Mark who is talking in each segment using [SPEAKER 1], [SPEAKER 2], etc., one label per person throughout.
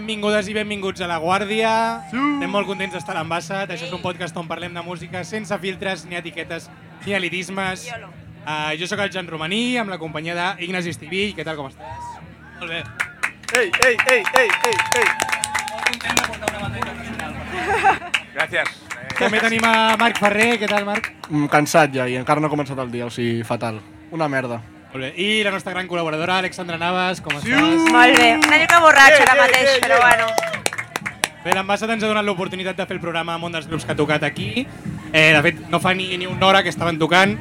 [SPEAKER 1] Benvingudes i benvinguts a La Guàrdia. Sí. Estem molt contents d'estar a l'Embassa. Això és un podcast on parlem de música sense filtres, ni etiquetes, ni elitismes.
[SPEAKER 2] Iolo.
[SPEAKER 1] Uh, jo sóc el Jan Romaní, amb la companyia d'Ignasi Estivill. Què tal, com estàs? Molt bé.
[SPEAKER 3] ¡Ey, ey, ey, ey, ey, ey! Gracias.
[SPEAKER 1] També tenim a Marc Ferrer. Què tal, Marc?
[SPEAKER 4] Mm, cansat ja i encara no ha començat el dia, o sigui, fatal. Una merda.
[SPEAKER 1] Molt bé. I la nostra gran col·laboradora, Alexandra Navas. Com estàs?
[SPEAKER 2] Molt bé, una mica borratxo
[SPEAKER 3] Eh,
[SPEAKER 2] ara
[SPEAKER 3] eh,
[SPEAKER 2] mateix,
[SPEAKER 3] eh,
[SPEAKER 2] però
[SPEAKER 3] eh.
[SPEAKER 2] bueno.
[SPEAKER 1] Bé, l'Embassa ens ha donat l'oportunitat de fer el programa amb un dels grups que ha tocat aquí. Eh, de fet, no fa ni, ni una hora que estaven tocant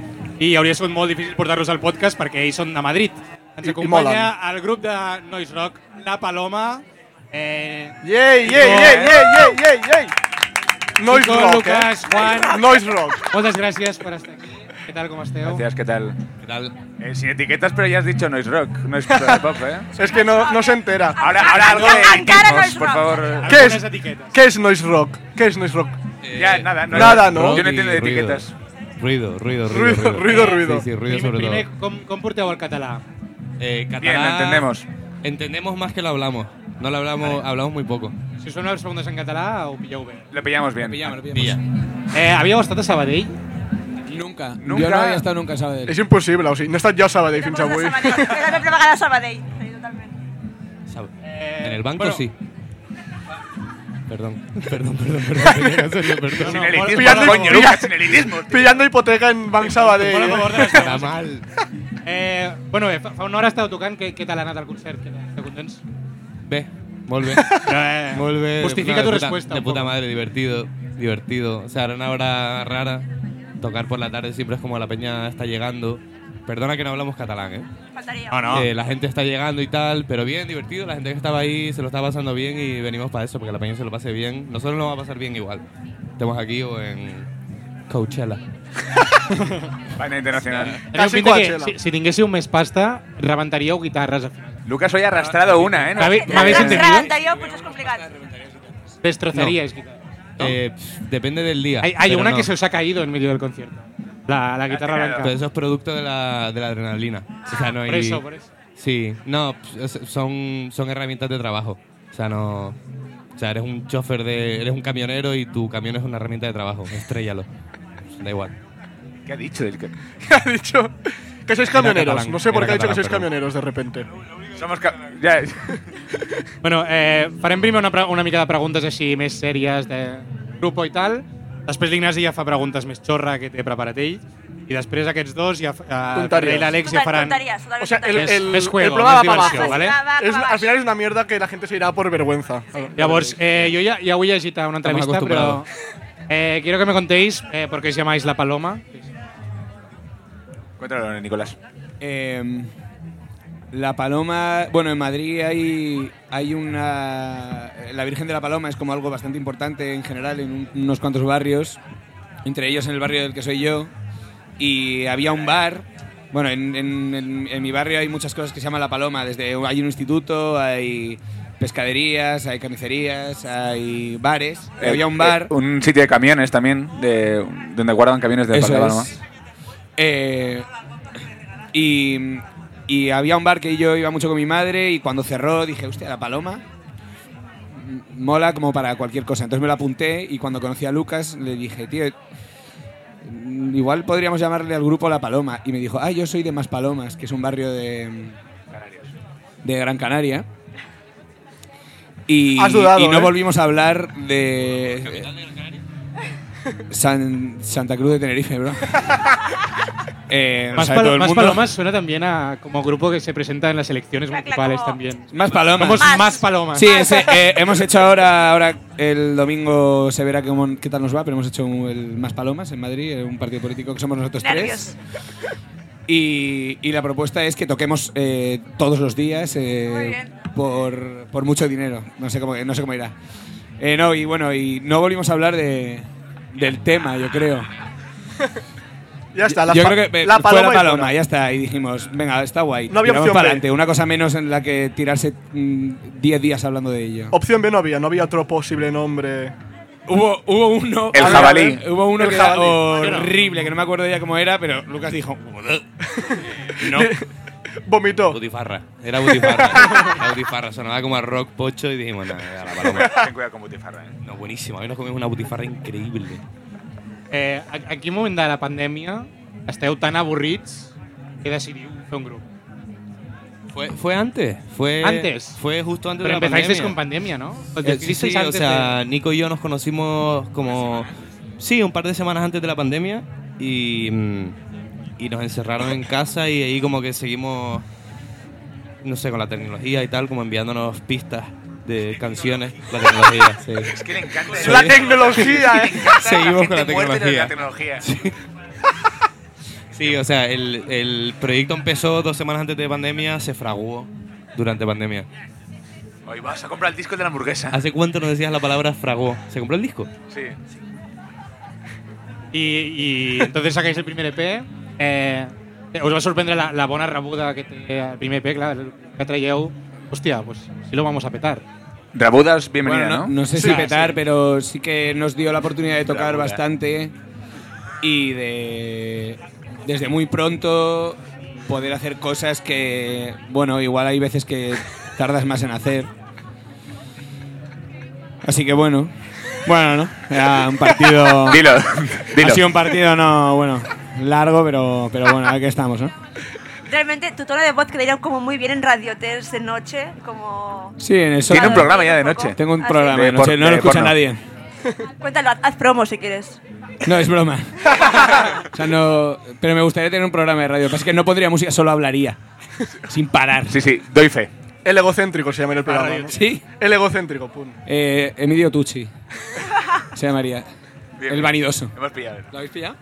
[SPEAKER 1] i hauria sigut molt difícil portar-los al podcast perquè ells són de Madrid.
[SPEAKER 4] I-
[SPEAKER 1] Ens
[SPEAKER 4] i
[SPEAKER 1] acompanya
[SPEAKER 4] molen.
[SPEAKER 1] el grup de Noise Rock, La Paloma, eh,
[SPEAKER 3] ¡Yey,
[SPEAKER 1] No,
[SPEAKER 3] yey,
[SPEAKER 1] eh.
[SPEAKER 3] yey, yey, yey, yey, yey!
[SPEAKER 4] Noise
[SPEAKER 1] Nico,
[SPEAKER 4] rock,
[SPEAKER 1] Lucas,
[SPEAKER 4] eh?
[SPEAKER 1] Juan.
[SPEAKER 4] Noise rock.
[SPEAKER 1] Moltes gràcies per estar aquí. Què tal, com esteu?
[SPEAKER 5] Gracias, ¿qué tal?
[SPEAKER 6] ¿Qué tal?
[SPEAKER 5] Eh, sin etiquetas, pero ya has dicho noise rock, no es pop, ¿eh?
[SPEAKER 4] És que no, no s'entera.
[SPEAKER 5] Ahora, ahora algo de
[SPEAKER 2] Encara
[SPEAKER 5] equipos,
[SPEAKER 2] noise
[SPEAKER 5] por
[SPEAKER 2] rock.
[SPEAKER 5] favor.
[SPEAKER 4] Què és,
[SPEAKER 1] Algunes etiquetes.
[SPEAKER 4] què és noise rock? Què és noise rock?
[SPEAKER 5] Eh, Ya, nada, no.
[SPEAKER 4] Nada, ¿no?
[SPEAKER 5] Yo
[SPEAKER 6] rock y
[SPEAKER 5] no entiendo de
[SPEAKER 6] ruido.
[SPEAKER 5] etiquetas.
[SPEAKER 6] Ruido, ruido, ruido.
[SPEAKER 4] Ruido, ruido, ruido.
[SPEAKER 6] Sí, sí, ruido
[SPEAKER 1] Primer,
[SPEAKER 6] sobre
[SPEAKER 1] primer,
[SPEAKER 6] todo.
[SPEAKER 1] com, com porteu el català?
[SPEAKER 6] Eh, catalán,
[SPEAKER 5] Bien, lo entendemos.
[SPEAKER 6] Entendemos más que lo hablamos. No lo hablamos, hablamos muy poco.
[SPEAKER 1] Si us fem les preguntes en català, ho pilleu bé.
[SPEAKER 5] Lo pillamos bien.
[SPEAKER 6] Pilla.
[SPEAKER 1] Eh, havíeu estat a Sabadell?
[SPEAKER 7] Nunca.
[SPEAKER 5] Nunca.
[SPEAKER 7] Yo no había estado nunca en Sabadell.
[SPEAKER 4] És impossible, o sigui, no he estat jo a Sabadell fins avui.
[SPEAKER 2] Una altra vegada a Sabadell. Sí, totalment.
[SPEAKER 6] Sab-
[SPEAKER 1] Eh,
[SPEAKER 6] en el banco
[SPEAKER 1] bueno.
[SPEAKER 6] sí. Perdón, perdón, perdón, perdón. perdón, perdón.
[SPEAKER 1] No,
[SPEAKER 5] Sin
[SPEAKER 1] no,
[SPEAKER 5] elitismo,
[SPEAKER 1] pillando-
[SPEAKER 5] coño, Lucas, sin elitismo.
[SPEAKER 4] Pillando hipoteca en Banc
[SPEAKER 1] Molt a
[SPEAKER 4] Sabadell.
[SPEAKER 1] favor
[SPEAKER 4] eh?
[SPEAKER 1] de les
[SPEAKER 6] Está
[SPEAKER 1] preguntes.
[SPEAKER 6] mal.
[SPEAKER 1] Eh, bueno, bé, fa, fa una hora estàveu tocant. Què, què tal ha anat el concert? Què tal? Esteu contents?
[SPEAKER 6] Ve, vuelve.
[SPEAKER 1] Eh,
[SPEAKER 6] Vuelve.
[SPEAKER 1] Justifica tu
[SPEAKER 6] de puta-
[SPEAKER 1] respuesta.
[SPEAKER 6] De
[SPEAKER 1] un
[SPEAKER 6] puta
[SPEAKER 1] poco.
[SPEAKER 6] madre, divertido, divertido. O sea, era una hora rara. Tocar por la tarde siempre es como la peña está llegando. Perdona que no hablamos catalán, ¿eh?
[SPEAKER 2] Faltaria.
[SPEAKER 5] Ah,
[SPEAKER 1] No, no.
[SPEAKER 6] Eh, la gente está llegando y tal, pero bien, divertido. La gente que estaba ahí se lo está pasando bien y venimos para eso, porque la peña se lo pase bien. Nosotros no va a pasar bien igual. Estemos aquí o en Coachella.
[SPEAKER 5] Banda internacional.
[SPEAKER 1] Teniu
[SPEAKER 4] Quasi
[SPEAKER 1] pinta que
[SPEAKER 4] Coachella.
[SPEAKER 1] si, si tinguéssiu més pasta, rebentaríeu guitarres al final.
[SPEAKER 5] Lucas hoy ha arrastrado una, ¿eh? No-
[SPEAKER 1] M'havi-
[SPEAKER 2] M'havés
[SPEAKER 1] M'havéis
[SPEAKER 2] entendido?
[SPEAKER 1] entendido?
[SPEAKER 2] L'anterior potser és complicat.
[SPEAKER 1] Destrozaríais guitarras. ¿no?
[SPEAKER 6] Eh, pff, depende del día.
[SPEAKER 1] Hay, hay
[SPEAKER 6] pero
[SPEAKER 1] una
[SPEAKER 6] no.
[SPEAKER 1] que se os ha caído en medio del concierto. La, la guitarra
[SPEAKER 4] Ah,
[SPEAKER 5] tirado.
[SPEAKER 1] blanca.
[SPEAKER 6] Pero eso es producto de la, de la adrenalina. O sea, no hay...
[SPEAKER 1] Por eso, por eso.
[SPEAKER 6] Sí, no, pff, es- son, son herramientas de trabajo. O sea, no... O sea, eres un chofer de... Eres un camionero y tu camión es una herramienta de trabajo. Estrellalo. Da igual.
[SPEAKER 5] ¿Qué ha dicho? del que-
[SPEAKER 4] Ha dicho que sois camioneros.
[SPEAKER 6] catalán,
[SPEAKER 4] No sé por
[SPEAKER 6] era
[SPEAKER 4] qué ha dicho que
[SPEAKER 6] catalán,
[SPEAKER 4] sois
[SPEAKER 6] perdón.
[SPEAKER 4] camioneros de repente.
[SPEAKER 5] Somos. ca- Ya.
[SPEAKER 1] Bueno, eh, farem primer una, pre- una mica de preguntes així més sèries de grupo i tal. Després l'Ignasi ja fa preguntes més xorra que té preparat ell. I després aquests dos, ja, fa- eh,
[SPEAKER 4] Tonteries.
[SPEAKER 1] Ferrer i l'Àlex ja faran...
[SPEAKER 2] Tonteries, totalment
[SPEAKER 4] O sea, el,
[SPEAKER 2] tonteries.
[SPEAKER 1] Més-
[SPEAKER 4] el,
[SPEAKER 1] més
[SPEAKER 4] el
[SPEAKER 1] juego,
[SPEAKER 4] programa
[SPEAKER 1] més
[SPEAKER 4] va para
[SPEAKER 1] diversión,
[SPEAKER 4] abajo.
[SPEAKER 1] ¿vale?
[SPEAKER 2] Va, va,
[SPEAKER 4] Es-
[SPEAKER 2] va, va.
[SPEAKER 4] al final es una mierda que la gente se irá por vergüenza.
[SPEAKER 1] Llavors, eh, jo ja, ja avui he llegit a una
[SPEAKER 6] Estamos
[SPEAKER 1] entrevista, però...
[SPEAKER 6] acostumbrados.
[SPEAKER 1] Eh, quiero que me contéis eh, por qué os llamáis La Paloma.
[SPEAKER 5] Cuéntalo, Nicolás.
[SPEAKER 7] Eh, la Paloma, bueno, en Madrid hay, hay una... La Virgen de la Paloma es como algo bastante importante en general en un- unos cuantos barrios, entre ellos en el barrio del que soy yo, y había un bar. Bueno, en, en- en- en mi barrio hay muchas cosas que se llaman La Paloma, desde hay un instituto, hay pescaderías, hay carnicerías, hay bares. Y había un bar.
[SPEAKER 5] Eh, un sitio de camiones también, de, donde guardan camiones de
[SPEAKER 7] Eso
[SPEAKER 5] Palma.
[SPEAKER 7] es. Eh, y, y había un bar que yo iba mucho con mi madre y cuando cerró dije, hostia, la paloma m- mola como para cualquier cosa. Entonces me la apunté y cuando conocí a Lucas le dije, tío, mm, igual podríamos llamarle al grupo La Paloma. Y me dijo, ah, yo soy de Más Palomas, que es un barrio de, de Gran Canaria. Y,
[SPEAKER 4] Has dudado,
[SPEAKER 7] y no
[SPEAKER 4] ¿eh?
[SPEAKER 7] volvimos a hablar de... San- Santa Cruz de Tenerife, bro. Eh, lo
[SPEAKER 1] Más,
[SPEAKER 7] sabe todo
[SPEAKER 1] palo-
[SPEAKER 7] el
[SPEAKER 1] más
[SPEAKER 7] mundo.
[SPEAKER 1] palomas suena también a como grupo que se presenta en las elecciones
[SPEAKER 2] Claro,
[SPEAKER 1] municipales
[SPEAKER 2] como-
[SPEAKER 1] también.
[SPEAKER 7] Más palomas.
[SPEAKER 1] Somos
[SPEAKER 2] Más.
[SPEAKER 1] más palomas.
[SPEAKER 7] Sí, ese, eh, hemos hecho ahora, ahora el domingo se verá cómo- qué tal nos va, pero hemos hecho un- el Más Palomas en Madrid, eh, un partido político que somos nosotros
[SPEAKER 2] Nervios.
[SPEAKER 7] tres. Y, y la propuesta es que toquemos eh, todos los días eh,
[SPEAKER 2] Muy bien.
[SPEAKER 7] por, por mucho dinero. No sé cómo, no sé cómo irá. Eh, no, y bueno, y no volvimos a hablar de, del tema, yo creo.
[SPEAKER 4] Ya está, la,
[SPEAKER 7] Yo
[SPEAKER 4] pa-
[SPEAKER 7] creo que eh,
[SPEAKER 4] la
[SPEAKER 7] fue
[SPEAKER 4] paloma.
[SPEAKER 7] la
[SPEAKER 4] y fuera.
[SPEAKER 7] paloma, ya está. Y dijimos, venga, está guay.
[SPEAKER 4] No había
[SPEAKER 7] tiramos
[SPEAKER 4] opción
[SPEAKER 7] para
[SPEAKER 4] B.
[SPEAKER 7] adelante. Una cosa menos en la que tirarse mm, 10 días hablando de ello.
[SPEAKER 4] Opción B no había, no había otro posible nombre.
[SPEAKER 7] Hubo, hubo uno.
[SPEAKER 5] El
[SPEAKER 7] a ver,
[SPEAKER 5] jabalí.
[SPEAKER 7] a ver, Hubo uno
[SPEAKER 4] El
[SPEAKER 7] que era
[SPEAKER 4] jabalí.
[SPEAKER 7] horrible, que no me acuerdo ya cómo era, pero Lucas dijo. No.
[SPEAKER 1] Oh.
[SPEAKER 3] Vomitó.
[SPEAKER 6] Butifarra. Era butifarra. Era butifarra. Sonaba como a rock pocho y dijimos, nada, a la paloma.
[SPEAKER 5] Ten cuidado con Butifarra, eh.
[SPEAKER 6] No, buenísimo. Hoy nos comimos una butifarra increíble.
[SPEAKER 1] Eh, a- a quin moment de la pandèmia esteu tan avorrits que decidiu fer un grup?
[SPEAKER 6] Fue, fue antes. Fue,
[SPEAKER 1] Antes.
[SPEAKER 6] Fue justo antes
[SPEAKER 1] Però
[SPEAKER 6] de la
[SPEAKER 1] empezáis
[SPEAKER 6] pandemia.
[SPEAKER 1] con pandemia, ¿no? Os
[SPEAKER 6] Eh, sí,
[SPEAKER 1] decidisteis
[SPEAKER 6] sí, o
[SPEAKER 1] antes
[SPEAKER 6] sea,
[SPEAKER 1] de-
[SPEAKER 6] Nico y yo nos conocimos como. Sí, un par de semanas antes de la pandemia y, mm, y nos encerraron en casa y ahí como que seguimos, no sé, con la tecnología y tal, como enviándonos pistas de canciones. La tecnología, sí.
[SPEAKER 5] Es que le encanta.
[SPEAKER 6] Sí.
[SPEAKER 3] La tecnología, eh.
[SPEAKER 6] Seguimos con la
[SPEAKER 5] La
[SPEAKER 6] tecnología.
[SPEAKER 5] tecnología.
[SPEAKER 6] Sí, o sea, el, el proyecto empezó dos semanas antes de pandemia, se fraguó durante pandemia.
[SPEAKER 5] Hoy vas a comprar el disco de la hamburguesa.
[SPEAKER 6] ¿Hace cuánto no decías la palabra fraguó? ¿Se compró el disco?
[SPEAKER 7] Ah.
[SPEAKER 5] Sí.
[SPEAKER 1] I, i entonces sacáis el primer EP. Eh, us va sorprendre la, la bona rebuda que té el primer EP, clar, el que traieu. Hòstia, pues sí lo vamos a petar.
[SPEAKER 5] Rabudas, bienvenida,
[SPEAKER 7] Bueno, no,
[SPEAKER 5] ¿no?
[SPEAKER 7] no sé si petar, pero Ah, sí que nos dio la oportunidad de tocar
[SPEAKER 5] Bravura.
[SPEAKER 7] bastante y de desde muy pronto poder hacer cosas que, bueno, igual hay veces que tardas más en hacer. Así que bueno, bueno, ¿no? Era un partido...
[SPEAKER 5] Dilo,
[SPEAKER 7] Ha
[SPEAKER 5] dilo.
[SPEAKER 7] sido un partido, no, bueno, largo, pero, pero bueno, aquí estamos, ¿no?
[SPEAKER 2] Realmente tu tono de voz quedaría como muy bien en radiotes de noche, como...
[SPEAKER 7] Sí, en eso.
[SPEAKER 5] Tiene un programa ya de noche.
[SPEAKER 7] Tengo un
[SPEAKER 2] Ah, sí.
[SPEAKER 7] programa,
[SPEAKER 5] De
[SPEAKER 7] no, sé,
[SPEAKER 5] por-
[SPEAKER 7] no lo
[SPEAKER 5] de
[SPEAKER 7] escucha
[SPEAKER 5] porno.
[SPEAKER 7] nadie.
[SPEAKER 2] Cuéntalo, haz promo si quieres.
[SPEAKER 7] No, es broma. o sea, no. Pero me gustaría tener un programa de radio. Pasa que no podría música, solo hablaría. Sin parar.
[SPEAKER 5] Sí, sí, doy fe.
[SPEAKER 3] El egocéntrico se llama en el programa. ¿no?
[SPEAKER 7] Sí.
[SPEAKER 3] El egocéntrico, pum.
[SPEAKER 7] Eh, Emilio Tucci. Se llamaría.
[SPEAKER 5] Bien.
[SPEAKER 7] El vanidoso.
[SPEAKER 5] Hemos pillado.
[SPEAKER 7] ¿Lo habéis pillado?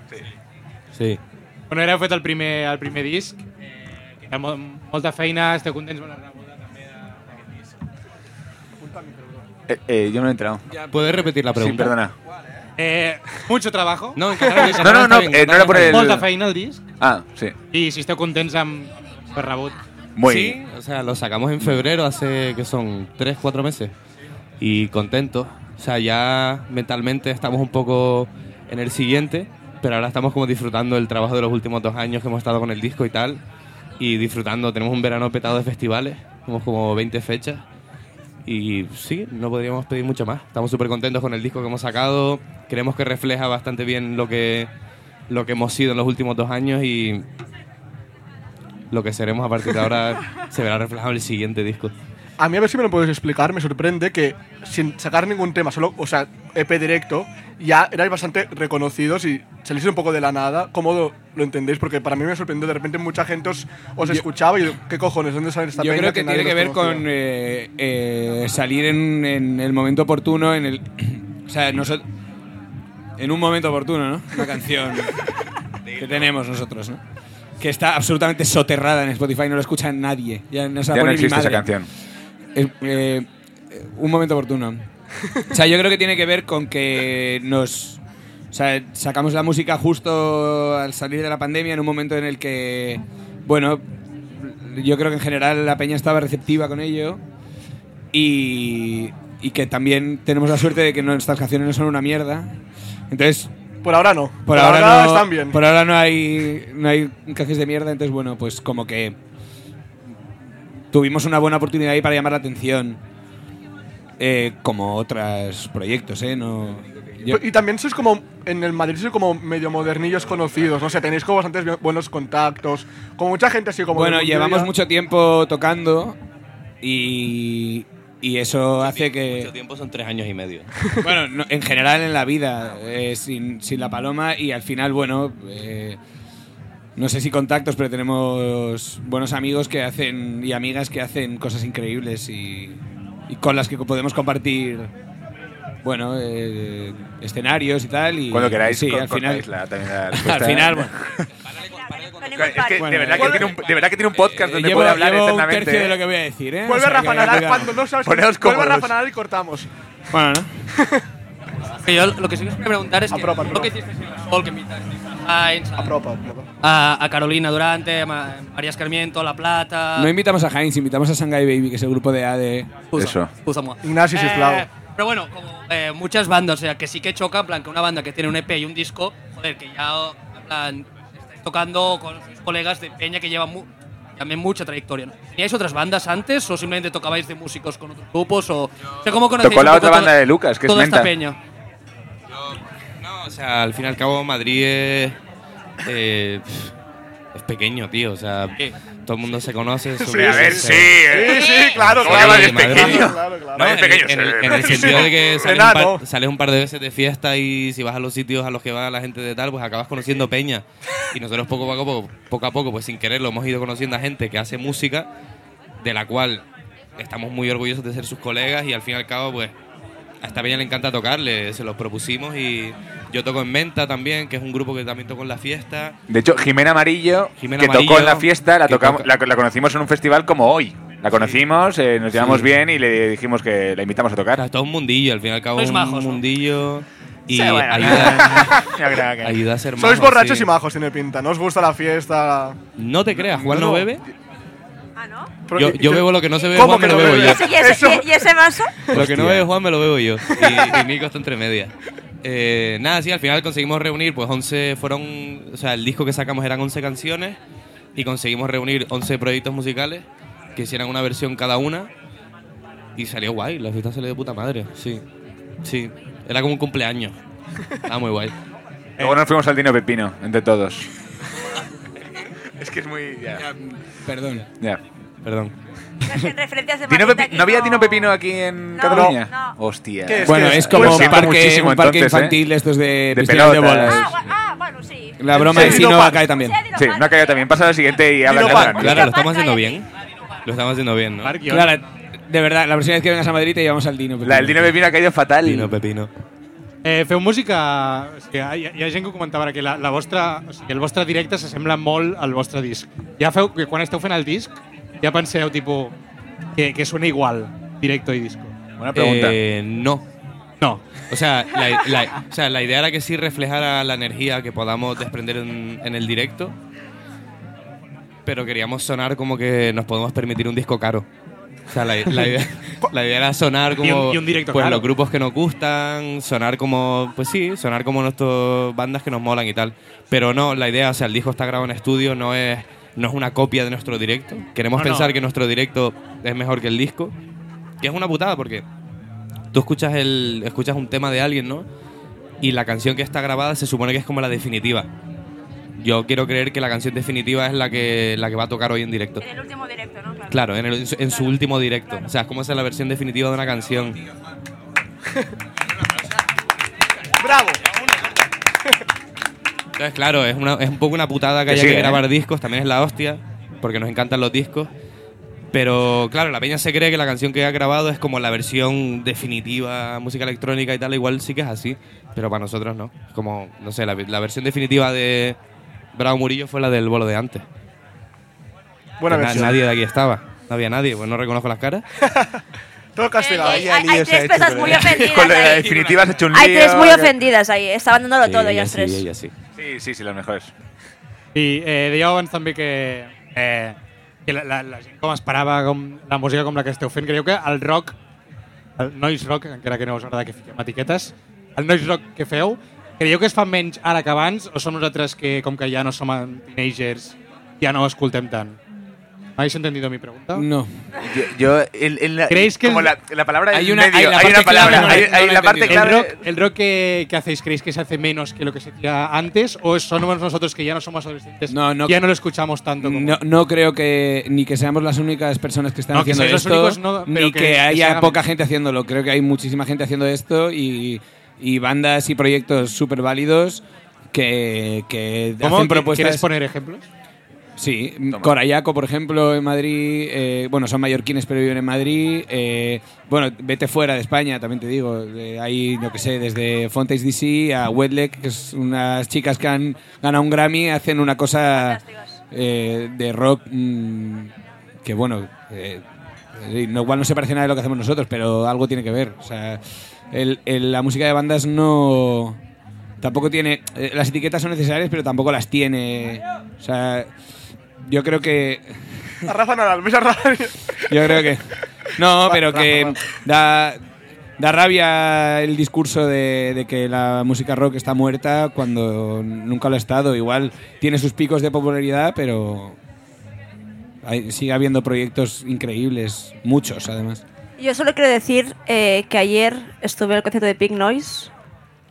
[SPEAKER 6] Sí.
[SPEAKER 1] Bueno, era fet el primer, el primer disc. Eh, que era mo molta feina, esteu contents amb la rebuda també de- d'aquest disc.
[SPEAKER 5] Eh, eh, yo no he enterado.
[SPEAKER 6] ¿Puedes repetir la pregunta?
[SPEAKER 5] Sí, perdona.
[SPEAKER 1] Eh, mucho trabajo.
[SPEAKER 6] No, en catalán, en
[SPEAKER 5] No,
[SPEAKER 6] catalán
[SPEAKER 5] no,
[SPEAKER 6] está
[SPEAKER 5] no,
[SPEAKER 6] bien,
[SPEAKER 5] eh, no
[SPEAKER 6] catalán
[SPEAKER 5] era
[SPEAKER 6] está
[SPEAKER 5] por
[SPEAKER 6] bien.
[SPEAKER 5] el-
[SPEAKER 1] Molta feina el disc.
[SPEAKER 5] Ah, sí.
[SPEAKER 1] I si esteu contents amb el rebut.
[SPEAKER 5] Muy
[SPEAKER 6] Sí, o sea, lo sacamos en febrero, hace que son tres, cuatro meses. Y contentos. O sea, ya mentalmente estamos un poco en el siguiente, pero ahora estamos como disfrutando el trabajo de los últimos dos años que hemos estado con el disco y tal. Y disfrutando, tenemos un verano petado de festivales, tenemos como 20 fechas. Y sí, no podríamos pedir mucho más. Estamos súper contentos con el disco que hemos sacado. Creemos que refleja bastante bien lo que, lo que hemos sido en los últimos dos años y lo que seremos a partir de ahora se verá reflejado en el siguiente disco.
[SPEAKER 3] A mí, a ver si me lo puedes explicar, me sorprende que sin sacar ningún tema, solo, o sea, EP directo, ya erais bastante reconocidos y salís un poco de la nada. ¿Cómo lo, lo entendéis? Porque para mí me sorprendió, de repente mucha gente os, os escuchaba y yo, ¿qué cojones? ¿Dónde salen esta
[SPEAKER 7] Yo
[SPEAKER 3] peña
[SPEAKER 7] creo que
[SPEAKER 3] nadie
[SPEAKER 7] tiene que
[SPEAKER 3] los
[SPEAKER 7] ver
[SPEAKER 3] conocía?
[SPEAKER 7] con eh, eh, salir en, en el momento oportuno, en el. o sea, nosotros. En un momento oportuno, ¿no? Una canción que tenemos nosotros, ¿no? Que está absolutamente soterrada en Spotify, no la escucha nadie. Ya no, se la
[SPEAKER 5] Ya no
[SPEAKER 7] pone ni mi
[SPEAKER 5] existe esa
[SPEAKER 7] madre.
[SPEAKER 5] canción.
[SPEAKER 7] Es- eh, eh, un momento oportuno. O sea, yo creo que tiene que ver con que nos. O sea, sacamos la música justo al salir de la pandemia, en un momento en el que. Bueno, yo creo que en general la peña estaba receptiva con ello. Y. Y que también tenemos la suerte de que nuestras canciones no son una mierda. Entonces,
[SPEAKER 3] Por ahora no.
[SPEAKER 7] por, ahora, no,
[SPEAKER 3] están bien.
[SPEAKER 7] Por ahora no hay, no hay canciones de mierda, entonces bueno, pues como que tuvimos una buena oportunidad ahí para llamar la atención. Eh, como otros proyectos, ¿eh? No, yo-
[SPEAKER 3] Y también sois como, en el Madrid sois como medio modernillos conocidos, no sé, tenéis como bastantes bien- buenos contactos, como mucha gente así como...
[SPEAKER 7] bueno,
[SPEAKER 3] del
[SPEAKER 7] llevamos
[SPEAKER 3] mundillo.
[SPEAKER 7] mucho tiempo tocando y, y eso hace
[SPEAKER 8] Eh,
[SPEAKER 7] que...
[SPEAKER 6] Mucho tiempo son tres años y medio.
[SPEAKER 7] Bueno, no, en general en la
[SPEAKER 5] Ah,
[SPEAKER 7] vida, eh, sin, sin la paloma y al final, bueno, eh, no sé si contactos, pero tenemos buenos amigos que hacen y amigas que hacen cosas increíbles y, y con las que podemos compartir, bueno, eh, escenarios y tal. Y,
[SPEAKER 5] Cuando queráis,
[SPEAKER 7] sí,
[SPEAKER 5] con-
[SPEAKER 7] al
[SPEAKER 5] cortáis
[SPEAKER 7] final,
[SPEAKER 5] la- también la
[SPEAKER 7] al
[SPEAKER 5] respuesta.
[SPEAKER 7] final, bueno,
[SPEAKER 5] Es que
[SPEAKER 7] Bueno,
[SPEAKER 5] de, verdad que
[SPEAKER 7] vuelve-
[SPEAKER 5] tiene un, de verdad que tiene un podcast donde
[SPEAKER 7] llevo,
[SPEAKER 5] puede hablar
[SPEAKER 7] llevo un
[SPEAKER 5] eternamente.
[SPEAKER 7] tercio de
[SPEAKER 5] ¿eh?
[SPEAKER 7] lo que voy a decir, ¿eh?
[SPEAKER 3] Vuelve
[SPEAKER 7] O sea,
[SPEAKER 3] Rafa
[SPEAKER 7] que-
[SPEAKER 3] Nadal
[SPEAKER 7] que-
[SPEAKER 3] cuando no sabes...
[SPEAKER 5] Poneos
[SPEAKER 3] vuelve
[SPEAKER 5] cómodos.
[SPEAKER 3] Rafa Nadal y cortamos.
[SPEAKER 7] Bueno, ¿no?
[SPEAKER 9] Que yo lo que sí que os quería preguntar es que,
[SPEAKER 3] Apropa,
[SPEAKER 9] lo
[SPEAKER 3] apropa.
[SPEAKER 9] que hicisteis en el Sol, que invitasteis a Heinz, a,
[SPEAKER 3] Apropa, apropa.
[SPEAKER 9] a- a Carolina Durante, a Ma- María Escarmiento, La Plata,
[SPEAKER 7] No invitamos a Heinz, invitamos a Shanghai Baby, que es el grupo de E. ADE.
[SPEAKER 5] Eso.
[SPEAKER 9] Cusamoa.
[SPEAKER 3] Ignacio Sislao.
[SPEAKER 9] Eh, Pero bueno, como eh, muchas bandas, o sea, que sí que choca, en plan, que una banda que tiene un EP y un disco, joder, que ya, en plan, estáis tocando con sus colegas de Peña que llevan mu- también mucha trayectoria. ¿no? ¿Teníais otras bandas antes o simplemente tocabais de músicos con otros grupos? O, o sea, ¿cómo conocéis
[SPEAKER 5] Tocó la
[SPEAKER 9] un poco
[SPEAKER 5] otra
[SPEAKER 9] toda-
[SPEAKER 5] banda de Lucas, que es
[SPEAKER 9] toda esta
[SPEAKER 5] Menta.
[SPEAKER 9] peña?
[SPEAKER 6] No, o sea, al fin y al cabo Madrid es, eh, pf, es pequeño, tío. O sea, todo el mundo se conoce.
[SPEAKER 8] Sí, a ver, sí. eh.
[SPEAKER 3] sí, claro,
[SPEAKER 8] No,
[SPEAKER 3] claro.
[SPEAKER 8] Madrid es
[SPEAKER 6] Madrid.
[SPEAKER 8] pequeño.
[SPEAKER 3] Claro, claro.
[SPEAKER 8] No, es
[SPEAKER 6] en, el-
[SPEAKER 8] pequeño.
[SPEAKER 6] en el,
[SPEAKER 8] se-
[SPEAKER 6] en el sentido de que sales un,
[SPEAKER 3] eh. Enano.
[SPEAKER 6] par, sales un par de veces de fiesta y si vas a los sitios a los que va la gente de tal, pues acabas conociendo peña. Y nosotros poco a poco, poco a poco, pues sin querer, lo hemos ido conociendo a gente que hace música, de la cual estamos muy orgullosos de ser sus colegas y al fin y al cabo, pues a esta peña le encanta tocarle, se los propusimos y yo toco en Menta también, que es un grupo que también toco en la fiesta.
[SPEAKER 5] De hecho, Jimena Amarillo,
[SPEAKER 6] Jimena
[SPEAKER 5] que tocó
[SPEAKER 6] Amarillo,
[SPEAKER 5] en la fiesta, la,
[SPEAKER 6] que
[SPEAKER 5] tocamos,
[SPEAKER 6] toca-
[SPEAKER 5] la, la conocimos en un festival como hoy. La conocimos, eh, nos llevamos bien y le dijimos que la invitamos a
[SPEAKER 6] O sea,
[SPEAKER 5] tocar.
[SPEAKER 6] es todo un mundillo, al fin y al cabo,
[SPEAKER 9] Sois
[SPEAKER 6] un
[SPEAKER 9] majos, ¿no?
[SPEAKER 6] mundillo y
[SPEAKER 8] Sí, bueno.
[SPEAKER 6] ayuda,
[SPEAKER 8] Yo creo que-
[SPEAKER 6] ayuda a ser majo,
[SPEAKER 3] Sois borrachos
[SPEAKER 6] sí.
[SPEAKER 3] y majos, tiene pinta. No os gusta la fiesta.
[SPEAKER 6] No te creas, Juan no,
[SPEAKER 3] No, no.
[SPEAKER 6] bebe.
[SPEAKER 2] Ah, ¿no?
[SPEAKER 3] Pero-
[SPEAKER 6] Yo,
[SPEAKER 3] y-
[SPEAKER 6] yo
[SPEAKER 3] y-
[SPEAKER 6] bebo lo que no se bebe,
[SPEAKER 3] ¿Cómo
[SPEAKER 6] Juan
[SPEAKER 3] que
[SPEAKER 6] me lo
[SPEAKER 3] no
[SPEAKER 6] bebo
[SPEAKER 3] bebe?
[SPEAKER 6] yo.
[SPEAKER 2] ¿Y ese, y ese-
[SPEAKER 3] Eso-
[SPEAKER 2] y ese vaso?
[SPEAKER 6] Lo que no
[SPEAKER 5] Hostia.
[SPEAKER 6] bebe Juan me lo bebo yo. Y, y Nico está entre medias. Eh, nada, sí, al final conseguimos reunir, pues 11 fueron, o sea, el disco que sacamos eran 11 canciones y conseguimos reunir 11 proyectos musicales que hicieran una versión cada una y salió guay, la fiesta salió de puta madre, sí. Sí, era como un cumpleaños. Estaba muy guay.
[SPEAKER 5] Luego nos fuimos al Dino Pepino, entre todos.
[SPEAKER 8] Es que es muy. ya.
[SPEAKER 7] Perdón.
[SPEAKER 5] Ya.
[SPEAKER 6] Perdón.
[SPEAKER 2] En referencias de
[SPEAKER 5] Dino
[SPEAKER 2] Madrid,
[SPEAKER 5] Pepi-
[SPEAKER 2] aquí
[SPEAKER 5] ¿No había Dino Pepino aquí en
[SPEAKER 2] No,
[SPEAKER 5] Cataluña?
[SPEAKER 2] no.
[SPEAKER 5] Hostia.
[SPEAKER 3] ¿Qué es?
[SPEAKER 7] Bueno,
[SPEAKER 3] que
[SPEAKER 7] es como
[SPEAKER 5] Lo
[SPEAKER 7] un
[SPEAKER 5] siento
[SPEAKER 7] parque,
[SPEAKER 5] pues muchísimo,
[SPEAKER 7] un parque
[SPEAKER 5] entonces, ¿eh?
[SPEAKER 7] infantil estos de,
[SPEAKER 5] De
[SPEAKER 7] pistolas de
[SPEAKER 5] pelotas.
[SPEAKER 2] Ah,
[SPEAKER 7] bolas.
[SPEAKER 2] gua- ah, bueno, sí.
[SPEAKER 7] La broma
[SPEAKER 3] Sí,
[SPEAKER 7] de si
[SPEAKER 3] Dino
[SPEAKER 7] no
[SPEAKER 3] Park.
[SPEAKER 7] cae también.
[SPEAKER 5] Sí, no ha caído también. Ah, Pasa a la siguiente y habla
[SPEAKER 3] Dino
[SPEAKER 5] catalán.
[SPEAKER 3] Pan.
[SPEAKER 6] Claro, lo estamos haciendo bien. Lo estamos haciendo bien, ¿no?
[SPEAKER 1] Marc, guión.
[SPEAKER 7] Claro, de verdad, la próxima vez que vengas a Madrid te llevamos al Dino.
[SPEAKER 5] La, el Dino Pepino ha caído fatal.
[SPEAKER 6] Pepino, Pepino.
[SPEAKER 1] Eh, feu música... O sigui, hi, ha- hi ha gent que ho comentava ara, que la, la vostra, o sigui, el vostre directe s'assembla molt al vostre disc. Ja feu, que quan esteu fent el disc, ja penseu tipo, que, que suena igual, directo i disco.
[SPEAKER 5] Buena pregunta.
[SPEAKER 6] Eh, no.
[SPEAKER 1] No.
[SPEAKER 6] O sea, la, la- o sea, la idea era que sí reflejara la energía que podamos desprender en, en el directo, pero queríamos sonar como que nos podemos permitir un disco caro. O sea, la, la idea, la idea era sonar como
[SPEAKER 1] Y un- y un directo
[SPEAKER 6] pues,
[SPEAKER 1] caro.
[SPEAKER 6] los grupos que nos gustan, sonar como, pues sí, sonar como nuestras bandas que nos molan y tal. Pero no, la idea, o sea, el disco está grabado en estudio, no es, no es una copia de nuestro directo. Queremos
[SPEAKER 1] No, no.
[SPEAKER 6] pensar que nuestro directo es mejor que el disco, que es una putada porque tú escuchas el escuchas un tema de alguien, ¿no? Y la canción que está grabada se supone que es como la definitiva. Yo quiero creer que la canción definitiva es la que la que va a tocar hoy en directo.
[SPEAKER 2] En el último directo, ¿no? Claro.
[SPEAKER 6] Claro, en, el- en su- en su último directo. O sea, es como esa es la versión definitiva de una canción.
[SPEAKER 3] Bravo.
[SPEAKER 6] Entonces, claro, es, una- es un poco una putada que
[SPEAKER 5] Que
[SPEAKER 6] haya
[SPEAKER 5] sí,
[SPEAKER 6] que
[SPEAKER 5] ¿eh?
[SPEAKER 6] grabar discos, también es la hostia, porque nos encantan los discos. Pero claro, la peña se cree que la canción que ha grabado es como la versión definitiva, música electrónica y tal, igual sí que es así, pero para nosotros no. Es como, no sé, la, la versión definitiva de Bravo Murillo fue la del bolo de antes.
[SPEAKER 3] Buena
[SPEAKER 6] Que na-
[SPEAKER 3] versión.
[SPEAKER 6] nadie de aquí estaba, no había nadie, pues no reconozco las caras.
[SPEAKER 3] Todo castigado.
[SPEAKER 2] Hay, Eh, hay- hay tres personas muy
[SPEAKER 5] eh, Con
[SPEAKER 2] ofendidas
[SPEAKER 5] la
[SPEAKER 2] ahí.
[SPEAKER 5] definitiva has hecho un lío.
[SPEAKER 2] Hay tres muy ofendidas ahí. eh, Estaban dándolo todo ellas tres.
[SPEAKER 6] Sí, ella sí.
[SPEAKER 5] Sí, sí, sí, las mejores.
[SPEAKER 1] I eh, dèieu abans també que, eh, que la, la, la gent com esperava com la música com la que esteu fent. Creieu que el rock, el noise rock, encara que no us agrada que fiquem etiquetes, el noise rock que feu, creieu que es fa menys ara que abans o som nosaltres que, com que ja no som teenagers, ja no ho escoltem tant? ¿Habéis entendido mi pregunta?
[SPEAKER 7] No.
[SPEAKER 5] Yo, yo- en- en la-
[SPEAKER 1] ¿Creéis que
[SPEAKER 5] como
[SPEAKER 1] el-
[SPEAKER 5] la, la palabra
[SPEAKER 7] Hay
[SPEAKER 5] en
[SPEAKER 7] una-
[SPEAKER 5] medio,
[SPEAKER 7] hay la
[SPEAKER 5] hay una
[SPEAKER 7] parte
[SPEAKER 5] palabra,
[SPEAKER 7] clave,
[SPEAKER 5] hay,
[SPEAKER 7] no la-
[SPEAKER 5] hay
[SPEAKER 7] no la
[SPEAKER 5] la parte
[SPEAKER 7] entendí.
[SPEAKER 1] ¿El
[SPEAKER 5] clave.
[SPEAKER 1] rock, el rock que, que hacéis creéis que se hace menos que lo que se hacía antes o somos nosotros que ya no somos adolescentes
[SPEAKER 7] No, no.
[SPEAKER 1] ya no lo escuchamos tanto como
[SPEAKER 7] No, no creo que ni que seamos las únicas personas que están
[SPEAKER 1] No, que
[SPEAKER 7] haciendo
[SPEAKER 1] sois los
[SPEAKER 7] esto,
[SPEAKER 1] únicos, no, pero
[SPEAKER 7] ni
[SPEAKER 1] que-
[SPEAKER 7] que,
[SPEAKER 1] que se haga
[SPEAKER 7] haya poca
[SPEAKER 1] menos.
[SPEAKER 7] gente haciéndolo. Creo que hay muchísima gente haciendo esto y, y bandas y proyectos súper válidos que, que
[SPEAKER 1] ¿Cómo?
[SPEAKER 7] hacen
[SPEAKER 1] ¿Qui- ¿Quieres
[SPEAKER 7] propuestas.
[SPEAKER 1] poner ejemplos?
[SPEAKER 7] Sí, mm, Corayaco, por ejemplo, en Madrid. eh, bueno, son mallorquines, pero viven en Madrid. eh, bueno, vete fuera de España, también te digo. eh, hay, yo que sé, desde Fontes DC a Wedleck, que es unas chicas que han ganado un Grammy, hacen una cosa
[SPEAKER 2] Fantásticas.
[SPEAKER 7] eh, de rock mm, que, bueno, eh, eh, no- igual no se parece nada de lo que hacemos nosotros, pero algo tiene que ver. O sea, el- el- la música de bandas no. Tampoco tiene. eh, las etiquetas son necesarias, pero tampoco las tiene. O sea, yo creo que.
[SPEAKER 3] A Rafa Nadal, ves a Rafa.
[SPEAKER 7] Yo creo que. No,
[SPEAKER 3] Va,
[SPEAKER 7] pero
[SPEAKER 3] Rafa,
[SPEAKER 7] que
[SPEAKER 3] va.
[SPEAKER 7] da, da rabia el discurso de, de que la música rock está muerta cuando nunca lo ha estado. Igual tiene sus picos de popularidad, pero. hay- sigue habiendo proyectos increíbles, muchos además.
[SPEAKER 2] Yo solo quiero decir eh, que ayer estuve en el concierto de Pink Noise.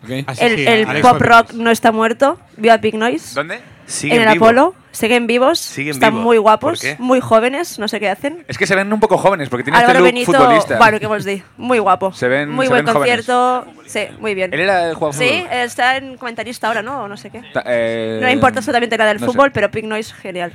[SPEAKER 7] ¿ok?
[SPEAKER 1] Ah, sí,
[SPEAKER 2] El,
[SPEAKER 1] sí,
[SPEAKER 2] el
[SPEAKER 1] Alex
[SPEAKER 2] pop
[SPEAKER 1] Rodríguez.
[SPEAKER 2] rock no está muerto. Viva Pink Noise.
[SPEAKER 8] ¿Dónde?
[SPEAKER 2] en
[SPEAKER 5] Siguen
[SPEAKER 2] el
[SPEAKER 5] vivos.
[SPEAKER 2] Apolo. Siguen vivos.
[SPEAKER 8] Siguen
[SPEAKER 2] están
[SPEAKER 8] vivos.
[SPEAKER 2] muy
[SPEAKER 8] ¿Por
[SPEAKER 2] guapos,
[SPEAKER 8] qué?
[SPEAKER 2] muy jóvenes. No sé qué hacen.
[SPEAKER 5] Es que se ven un poco jóvenes porque tienen
[SPEAKER 2] Álvaro
[SPEAKER 5] este look
[SPEAKER 2] Benito,
[SPEAKER 5] futbolista.
[SPEAKER 2] bueno, que vos di, muy guapo.
[SPEAKER 5] Se ven-
[SPEAKER 2] muy
[SPEAKER 5] se
[SPEAKER 2] buen
[SPEAKER 5] ven jóvenes.
[SPEAKER 2] concierto, sí, muy bien.
[SPEAKER 5] Él era el jugador de
[SPEAKER 2] Sí,
[SPEAKER 5] fútbol.
[SPEAKER 2] está en comentarista ahora, ¿no? O no sé qué.
[SPEAKER 5] Ta- eh,
[SPEAKER 2] No me importa absolutamente nada del
[SPEAKER 5] no sé.
[SPEAKER 2] fútbol, pero Pink Noise, genial.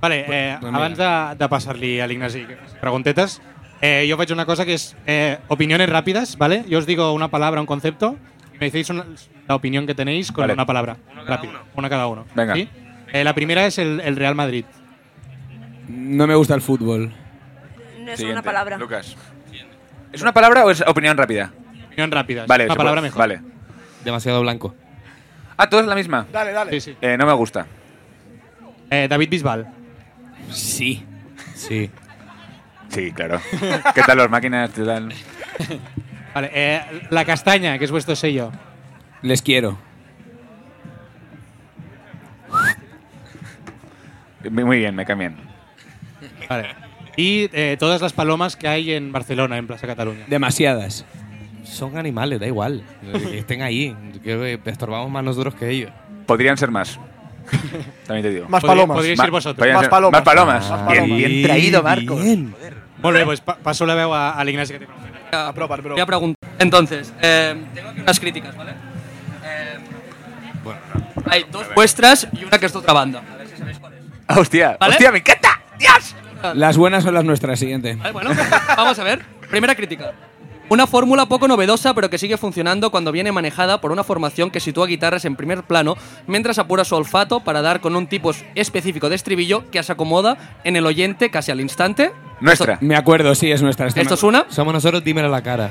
[SPEAKER 1] Vale, eh,
[SPEAKER 7] mira.
[SPEAKER 1] abans de, de passar-li a l'Ignasi preguntetes, eh, jo faig una cosa que és eh, opiniones rápidas, ¿vale? Yo os digo una palabra, un concepto, y me decís una- la opinión que tenéis con
[SPEAKER 5] Vale.
[SPEAKER 1] una palabra. Rápido, una cada uno.
[SPEAKER 5] Venga.
[SPEAKER 1] ¿sí? Eh, la primera es el, el Real Madrid.
[SPEAKER 7] No me gusta el fútbol.
[SPEAKER 2] No es
[SPEAKER 5] Siguiente,
[SPEAKER 2] una palabra.
[SPEAKER 5] Lucas. ¿Es una palabra o es opinión rápida?
[SPEAKER 1] Opinión rápida.
[SPEAKER 5] Vale,
[SPEAKER 1] Una
[SPEAKER 5] se
[SPEAKER 1] palabra
[SPEAKER 5] puede-
[SPEAKER 1] mejor.
[SPEAKER 5] Vale.
[SPEAKER 6] Demasiado blanco.
[SPEAKER 5] Ah, todo es la misma.
[SPEAKER 3] Dale, dale.
[SPEAKER 1] Sí, sí.
[SPEAKER 5] Eh, no me gusta.
[SPEAKER 1] Eh, David Bisbal.
[SPEAKER 7] Sí.
[SPEAKER 6] Sí.
[SPEAKER 5] Sí, claro. ¿Qué tal las máquinas? ¿Qué tal?
[SPEAKER 1] Vale, eh, la castaña, que es vuestro sello.
[SPEAKER 7] Les quiero.
[SPEAKER 5] Muy bien, me cambian.
[SPEAKER 1] Vale. Y eh, todas las palomas que hay en Barcelona, en Plaza Cataluña.
[SPEAKER 7] Demasiadas.
[SPEAKER 6] Son animales, da igual. Que estén ahí. Creo que estorbamos más nosotros que ellos.
[SPEAKER 5] Podrían ser más. También te digo.
[SPEAKER 3] Más
[SPEAKER 1] Podri-
[SPEAKER 3] palomas.
[SPEAKER 1] Podríais
[SPEAKER 5] Ma-
[SPEAKER 1] ser vosotros. Ah,
[SPEAKER 5] podrían
[SPEAKER 3] Más
[SPEAKER 5] ser-
[SPEAKER 3] palomas.
[SPEAKER 5] Más palomas.
[SPEAKER 3] Más
[SPEAKER 5] Bien,
[SPEAKER 3] palomas.
[SPEAKER 5] bien traído, Marco.
[SPEAKER 6] Bien.
[SPEAKER 1] Molt bé, doncs pa- passo la veu a, a l'Ignasi que té preguntes.
[SPEAKER 3] A probar, pero-
[SPEAKER 9] Voy a preguntar. Entonces, eh, tengo aquí unas críticas, ¿vale? Eh, hay dos vuestras y una que es de otra banda. A ver si sabéis cuál es.
[SPEAKER 5] Ah, hostia,
[SPEAKER 9] ¿Vale?
[SPEAKER 5] hostia, me encanta. ¡Dios!
[SPEAKER 7] Las buenas son las nuestras, siguiente.
[SPEAKER 9] Vale, bueno, vamos a ver. Primera crítica. Una fórmula poco novedosa, pero que sigue funcionando cuando viene manejada por una formación que sitúa guitarras en primer plano mientras apura su olfato para dar con un tipo específico de estribillo que se acomoda en el oyente casi al instante.
[SPEAKER 5] Nuestra.
[SPEAKER 7] Me acuerdo, sí, es nuestra. esta me
[SPEAKER 9] Esto es
[SPEAKER 7] acuerdo.
[SPEAKER 9] una.
[SPEAKER 6] Somos nosotros, dímelo a la cara.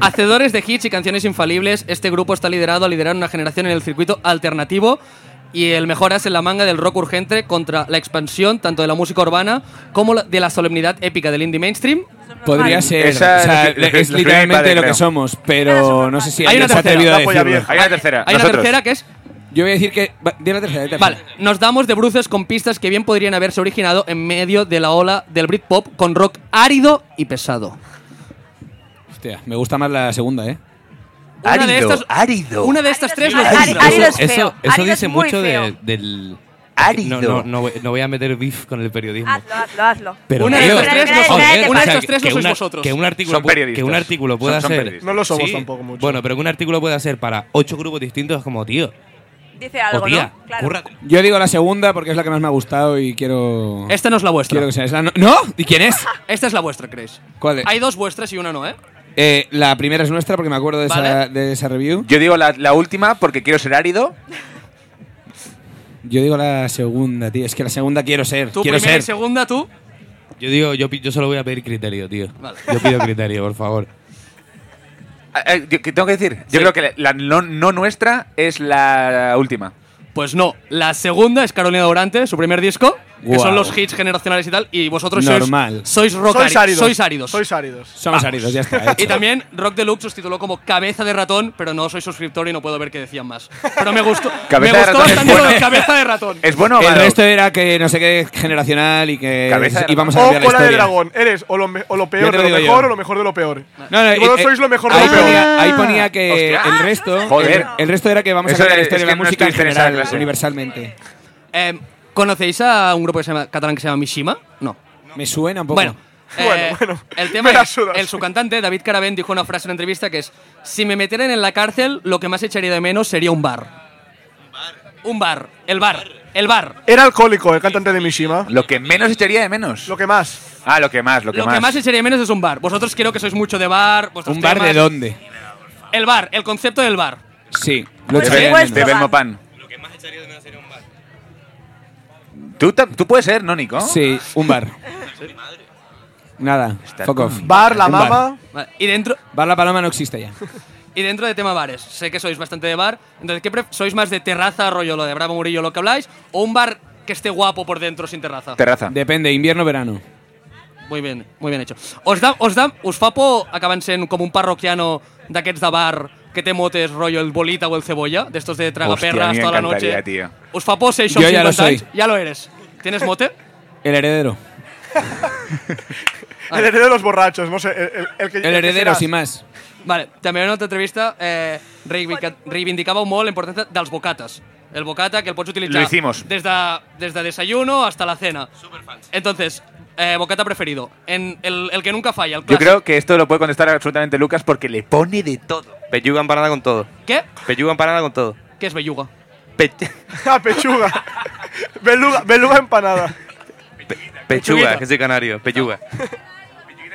[SPEAKER 9] Hacedores de hits y canciones infalibles, este grupo está liderado a liderar una generación en el circuito alternativo y el mejor as en la manga del rock urgente contra la expansión tanto de la música urbana como la- de la solemnidad épica del indie mainstream.
[SPEAKER 7] Podría ser.
[SPEAKER 5] Esa
[SPEAKER 7] o sea,
[SPEAKER 5] es la-
[SPEAKER 7] es
[SPEAKER 5] la- la- la- la-
[SPEAKER 7] literalmente
[SPEAKER 5] la-
[SPEAKER 7] lo que
[SPEAKER 5] creo.
[SPEAKER 7] somos,
[SPEAKER 2] Pero
[SPEAKER 7] pero
[SPEAKER 2] somos
[SPEAKER 7] no sé si
[SPEAKER 9] más. Hay
[SPEAKER 7] alguien
[SPEAKER 9] una
[SPEAKER 7] se ha
[SPEAKER 9] tercera,
[SPEAKER 7] atrevido a
[SPEAKER 3] la polla
[SPEAKER 7] decirlo.
[SPEAKER 3] vieja.
[SPEAKER 5] Hay una tercera.
[SPEAKER 9] Hay una
[SPEAKER 5] nosotros.
[SPEAKER 9] tercera que es
[SPEAKER 7] Yo voy a decir que. va, di la tercera, di la tercera.
[SPEAKER 9] Vale, nos damos de bruces con pistas que bien podrían haberse originado en medio de la ola del Britpop con rock árido y pesado.
[SPEAKER 7] Hostia, me gusta más la segunda, ¿eh?
[SPEAKER 9] una de
[SPEAKER 8] Árido,
[SPEAKER 9] estas,
[SPEAKER 8] árido.
[SPEAKER 9] Una de estas tres
[SPEAKER 2] Árido
[SPEAKER 9] nos
[SPEAKER 2] es-
[SPEAKER 9] gusta.
[SPEAKER 2] árido es-
[SPEAKER 6] eso,
[SPEAKER 2] feo.
[SPEAKER 6] eso
[SPEAKER 2] Árido es
[SPEAKER 6] dice
[SPEAKER 2] muy
[SPEAKER 6] mucho de-
[SPEAKER 2] feo.
[SPEAKER 6] del.
[SPEAKER 8] Árido.
[SPEAKER 6] No, no, no, voy, no voy a meter beef con el periodismo.
[SPEAKER 2] Hazlo, hazlo, hazlo.
[SPEAKER 6] Pero
[SPEAKER 9] Una de
[SPEAKER 6] tío,
[SPEAKER 9] estos tres
[SPEAKER 2] no somos-
[SPEAKER 6] joder,
[SPEAKER 2] una de
[SPEAKER 6] o sea,
[SPEAKER 9] estos tres no
[SPEAKER 6] que
[SPEAKER 9] sois
[SPEAKER 6] una-
[SPEAKER 9] vosotros.
[SPEAKER 6] Que un artículo,
[SPEAKER 5] Son
[SPEAKER 6] pu-
[SPEAKER 5] periodistas.
[SPEAKER 6] que un artículo pueda
[SPEAKER 5] Son- son
[SPEAKER 6] ser.
[SPEAKER 5] periodistas.
[SPEAKER 3] No lo somos
[SPEAKER 6] Sí.
[SPEAKER 3] tampoco mucho.
[SPEAKER 6] Bueno, pero que un artículo pueda ser para ocho grupos distintos es como, tío,
[SPEAKER 2] Dice
[SPEAKER 6] o
[SPEAKER 2] algo,
[SPEAKER 6] tía,
[SPEAKER 2] ¿no? Claro.
[SPEAKER 6] cúrrate.
[SPEAKER 7] Yo digo la segunda porque es la que más me ha gustado y quiero.
[SPEAKER 9] Esta no es la
[SPEAKER 7] Quiero
[SPEAKER 9] vuestra.
[SPEAKER 7] que sea. es la no, ¿No? ¿Y quién es?
[SPEAKER 9] Esta es la vuestra, creéis.
[SPEAKER 7] ¿Cuál es?
[SPEAKER 9] Hay dos vuestras y una no, ¿eh?
[SPEAKER 7] Eh, la primera es nuestra porque me acuerdo de, esa,
[SPEAKER 9] Vale.
[SPEAKER 7] de esa review.
[SPEAKER 5] Yo digo la, la última porque quiero ser árido.
[SPEAKER 7] Yo digo la segunda, tío. Es que la segunda quiero ser.
[SPEAKER 9] Tú
[SPEAKER 7] quiero
[SPEAKER 9] primera
[SPEAKER 7] ser.
[SPEAKER 9] y segunda, tú.
[SPEAKER 6] Yo digo, yo, pi- yo solo voy a pedir criterio, tío.
[SPEAKER 9] Vale.
[SPEAKER 6] Yo pido criterio, por favor.
[SPEAKER 5] Ah, eh, yo- ¿Qué tengo que decir? Yo creo que la, la no, no nuestra es la última.
[SPEAKER 9] Pues no, la segunda es Carolina Durante, su primer disco, que
[SPEAKER 7] Guau.
[SPEAKER 9] son los hits generacionales y tal, y vosotros
[SPEAKER 7] Normal.
[SPEAKER 9] sois, sois rock
[SPEAKER 3] Sois
[SPEAKER 9] árido-
[SPEAKER 3] áridos.
[SPEAKER 9] Sois áridos.
[SPEAKER 3] Sois áridos.
[SPEAKER 7] Somos áridos, ya está. hecho.
[SPEAKER 9] Y también Rock Deluxe os tituló como Cabeza de ratón, pero no soy suscriptor y no puedo ver qué decían más. Pero me gustó, me
[SPEAKER 5] Cabeza de
[SPEAKER 9] gustó
[SPEAKER 5] ratón es
[SPEAKER 9] bastante lo de
[SPEAKER 5] bueno.
[SPEAKER 9] Cabeza de ratón.
[SPEAKER 5] ¿Es bueno o
[SPEAKER 7] El
[SPEAKER 5] malo?
[SPEAKER 7] resto era que no sé qué generacional y que
[SPEAKER 5] Cabeza de
[SPEAKER 7] íbamos a
[SPEAKER 3] O
[SPEAKER 7] cambiar la
[SPEAKER 3] cola de
[SPEAKER 7] historia.
[SPEAKER 3] dragón. Eres o lo, me- o lo
[SPEAKER 7] Ya
[SPEAKER 3] peor
[SPEAKER 7] te
[SPEAKER 3] de
[SPEAKER 7] lo
[SPEAKER 3] lo
[SPEAKER 7] digo
[SPEAKER 3] mejor
[SPEAKER 7] yo.
[SPEAKER 3] o lo mejor de lo peor.
[SPEAKER 7] No, no,
[SPEAKER 3] Y vosotros
[SPEAKER 7] eh,
[SPEAKER 3] sois lo mejor de
[SPEAKER 7] ahí
[SPEAKER 3] lo peor.
[SPEAKER 7] ponía, ahí ponía que
[SPEAKER 5] Hostia.
[SPEAKER 7] el resto
[SPEAKER 5] Joder.
[SPEAKER 7] el- el resto era que vamos
[SPEAKER 5] Eso
[SPEAKER 7] a cambiar la
[SPEAKER 5] es-
[SPEAKER 7] historia
[SPEAKER 5] es
[SPEAKER 7] de la
[SPEAKER 5] que no
[SPEAKER 7] música en
[SPEAKER 5] estoy interesado en
[SPEAKER 7] general,
[SPEAKER 5] clase.
[SPEAKER 7] universalmente.
[SPEAKER 9] Eh, ¿Conocéis a un grupo que se llama- catalán que se llama Mishima? No.
[SPEAKER 7] Me suena un poco.
[SPEAKER 9] Bueno. eh,
[SPEAKER 3] Bueno, bueno,
[SPEAKER 9] El tema
[SPEAKER 3] me la
[SPEAKER 9] es,
[SPEAKER 3] sudas.
[SPEAKER 9] el su cantante, David Caravent, dijo una frase en una entrevista que es Si me metieran en la cárcel, lo que más echaría de menos sería un bar. Un bar. El bar. El bar.
[SPEAKER 3] Era alcohólico el cantante de Mishima.
[SPEAKER 5] Lo que menos echaría de menos.
[SPEAKER 3] Lo que más.
[SPEAKER 5] Ah, lo que más, lo que
[SPEAKER 9] Lo
[SPEAKER 5] más.
[SPEAKER 9] que más echaría de menos es un bar. Vosotros creo que sois mucho de bar. vuestros
[SPEAKER 7] ¿Un bar de
[SPEAKER 9] temas-
[SPEAKER 7] dónde?
[SPEAKER 9] El bar. El concepto del bar.
[SPEAKER 7] Sí.
[SPEAKER 5] de
[SPEAKER 7] Lo
[SPEAKER 2] Pues
[SPEAKER 5] Ben-
[SPEAKER 7] echaría de
[SPEAKER 2] igual-
[SPEAKER 7] menos.
[SPEAKER 5] de Ben Mopan. Tú, ta- tú puedes ser, ¿no, Nico?
[SPEAKER 7] Sí, un bar. Nada, fuck off.
[SPEAKER 3] Bar, la
[SPEAKER 7] Un bar.
[SPEAKER 3] mama.
[SPEAKER 9] Vale, Y dentro,
[SPEAKER 7] Bar La Paloma no existe ya.
[SPEAKER 9] Y dentro de tema bares, sé que sois bastante de bar, entonces, ¿qué pref- ¿sois más de terraza, rollo lo de Bravo Murillo, lo que habláis, o un bar que esté guapo por dentro sin terraza?
[SPEAKER 5] Terraza.
[SPEAKER 7] Depende, invierno verano.
[SPEAKER 9] Muy bien, muy bien hecho. Os, da, os, da, us fa por acaben sent com un parroquiano d'aquests de bar que té motes, rollo el bolita o el cebolla, d'estos
[SPEAKER 5] Hostia,
[SPEAKER 9] de
[SPEAKER 5] a
[SPEAKER 9] tragaperras
[SPEAKER 5] mí me
[SPEAKER 9] toda la
[SPEAKER 5] encantaría,
[SPEAKER 9] noche.
[SPEAKER 5] tío.
[SPEAKER 9] Os fa por ser això
[SPEAKER 7] Yo
[SPEAKER 9] amb
[SPEAKER 7] ya lo
[SPEAKER 9] 50 anys?
[SPEAKER 7] soy.
[SPEAKER 9] Ya lo eres. ¿Tienes mote?
[SPEAKER 7] El heredero.
[SPEAKER 3] El heredero de los borrachos, no sé. El, el- el que,
[SPEAKER 7] Ah. El heredero, sin más.
[SPEAKER 9] Vale, també en una altra entrevista eh, reivindica- reivindicàveu molt la importància dels bocates. El bocata que el pots utilitzar
[SPEAKER 5] Lo hicimos.
[SPEAKER 9] des de, des de desayuno hasta la cena. Superfans. Entonces, eh, bocata preferido. En el, el que nunca falla, el
[SPEAKER 5] Yo
[SPEAKER 9] clásico.
[SPEAKER 5] creo que esto lo puede contestar absolutamente Lucas porque le pone de todo.
[SPEAKER 10] Pelluga empanada con todo.
[SPEAKER 9] ¿Qué?
[SPEAKER 10] Pelluga empanada con todo.
[SPEAKER 9] ¿Qué es belluga?
[SPEAKER 10] Pe-
[SPEAKER 3] Ah, pechuga. beluga, beluga empanada.
[SPEAKER 10] pechuga, que soy canario. Pelluga.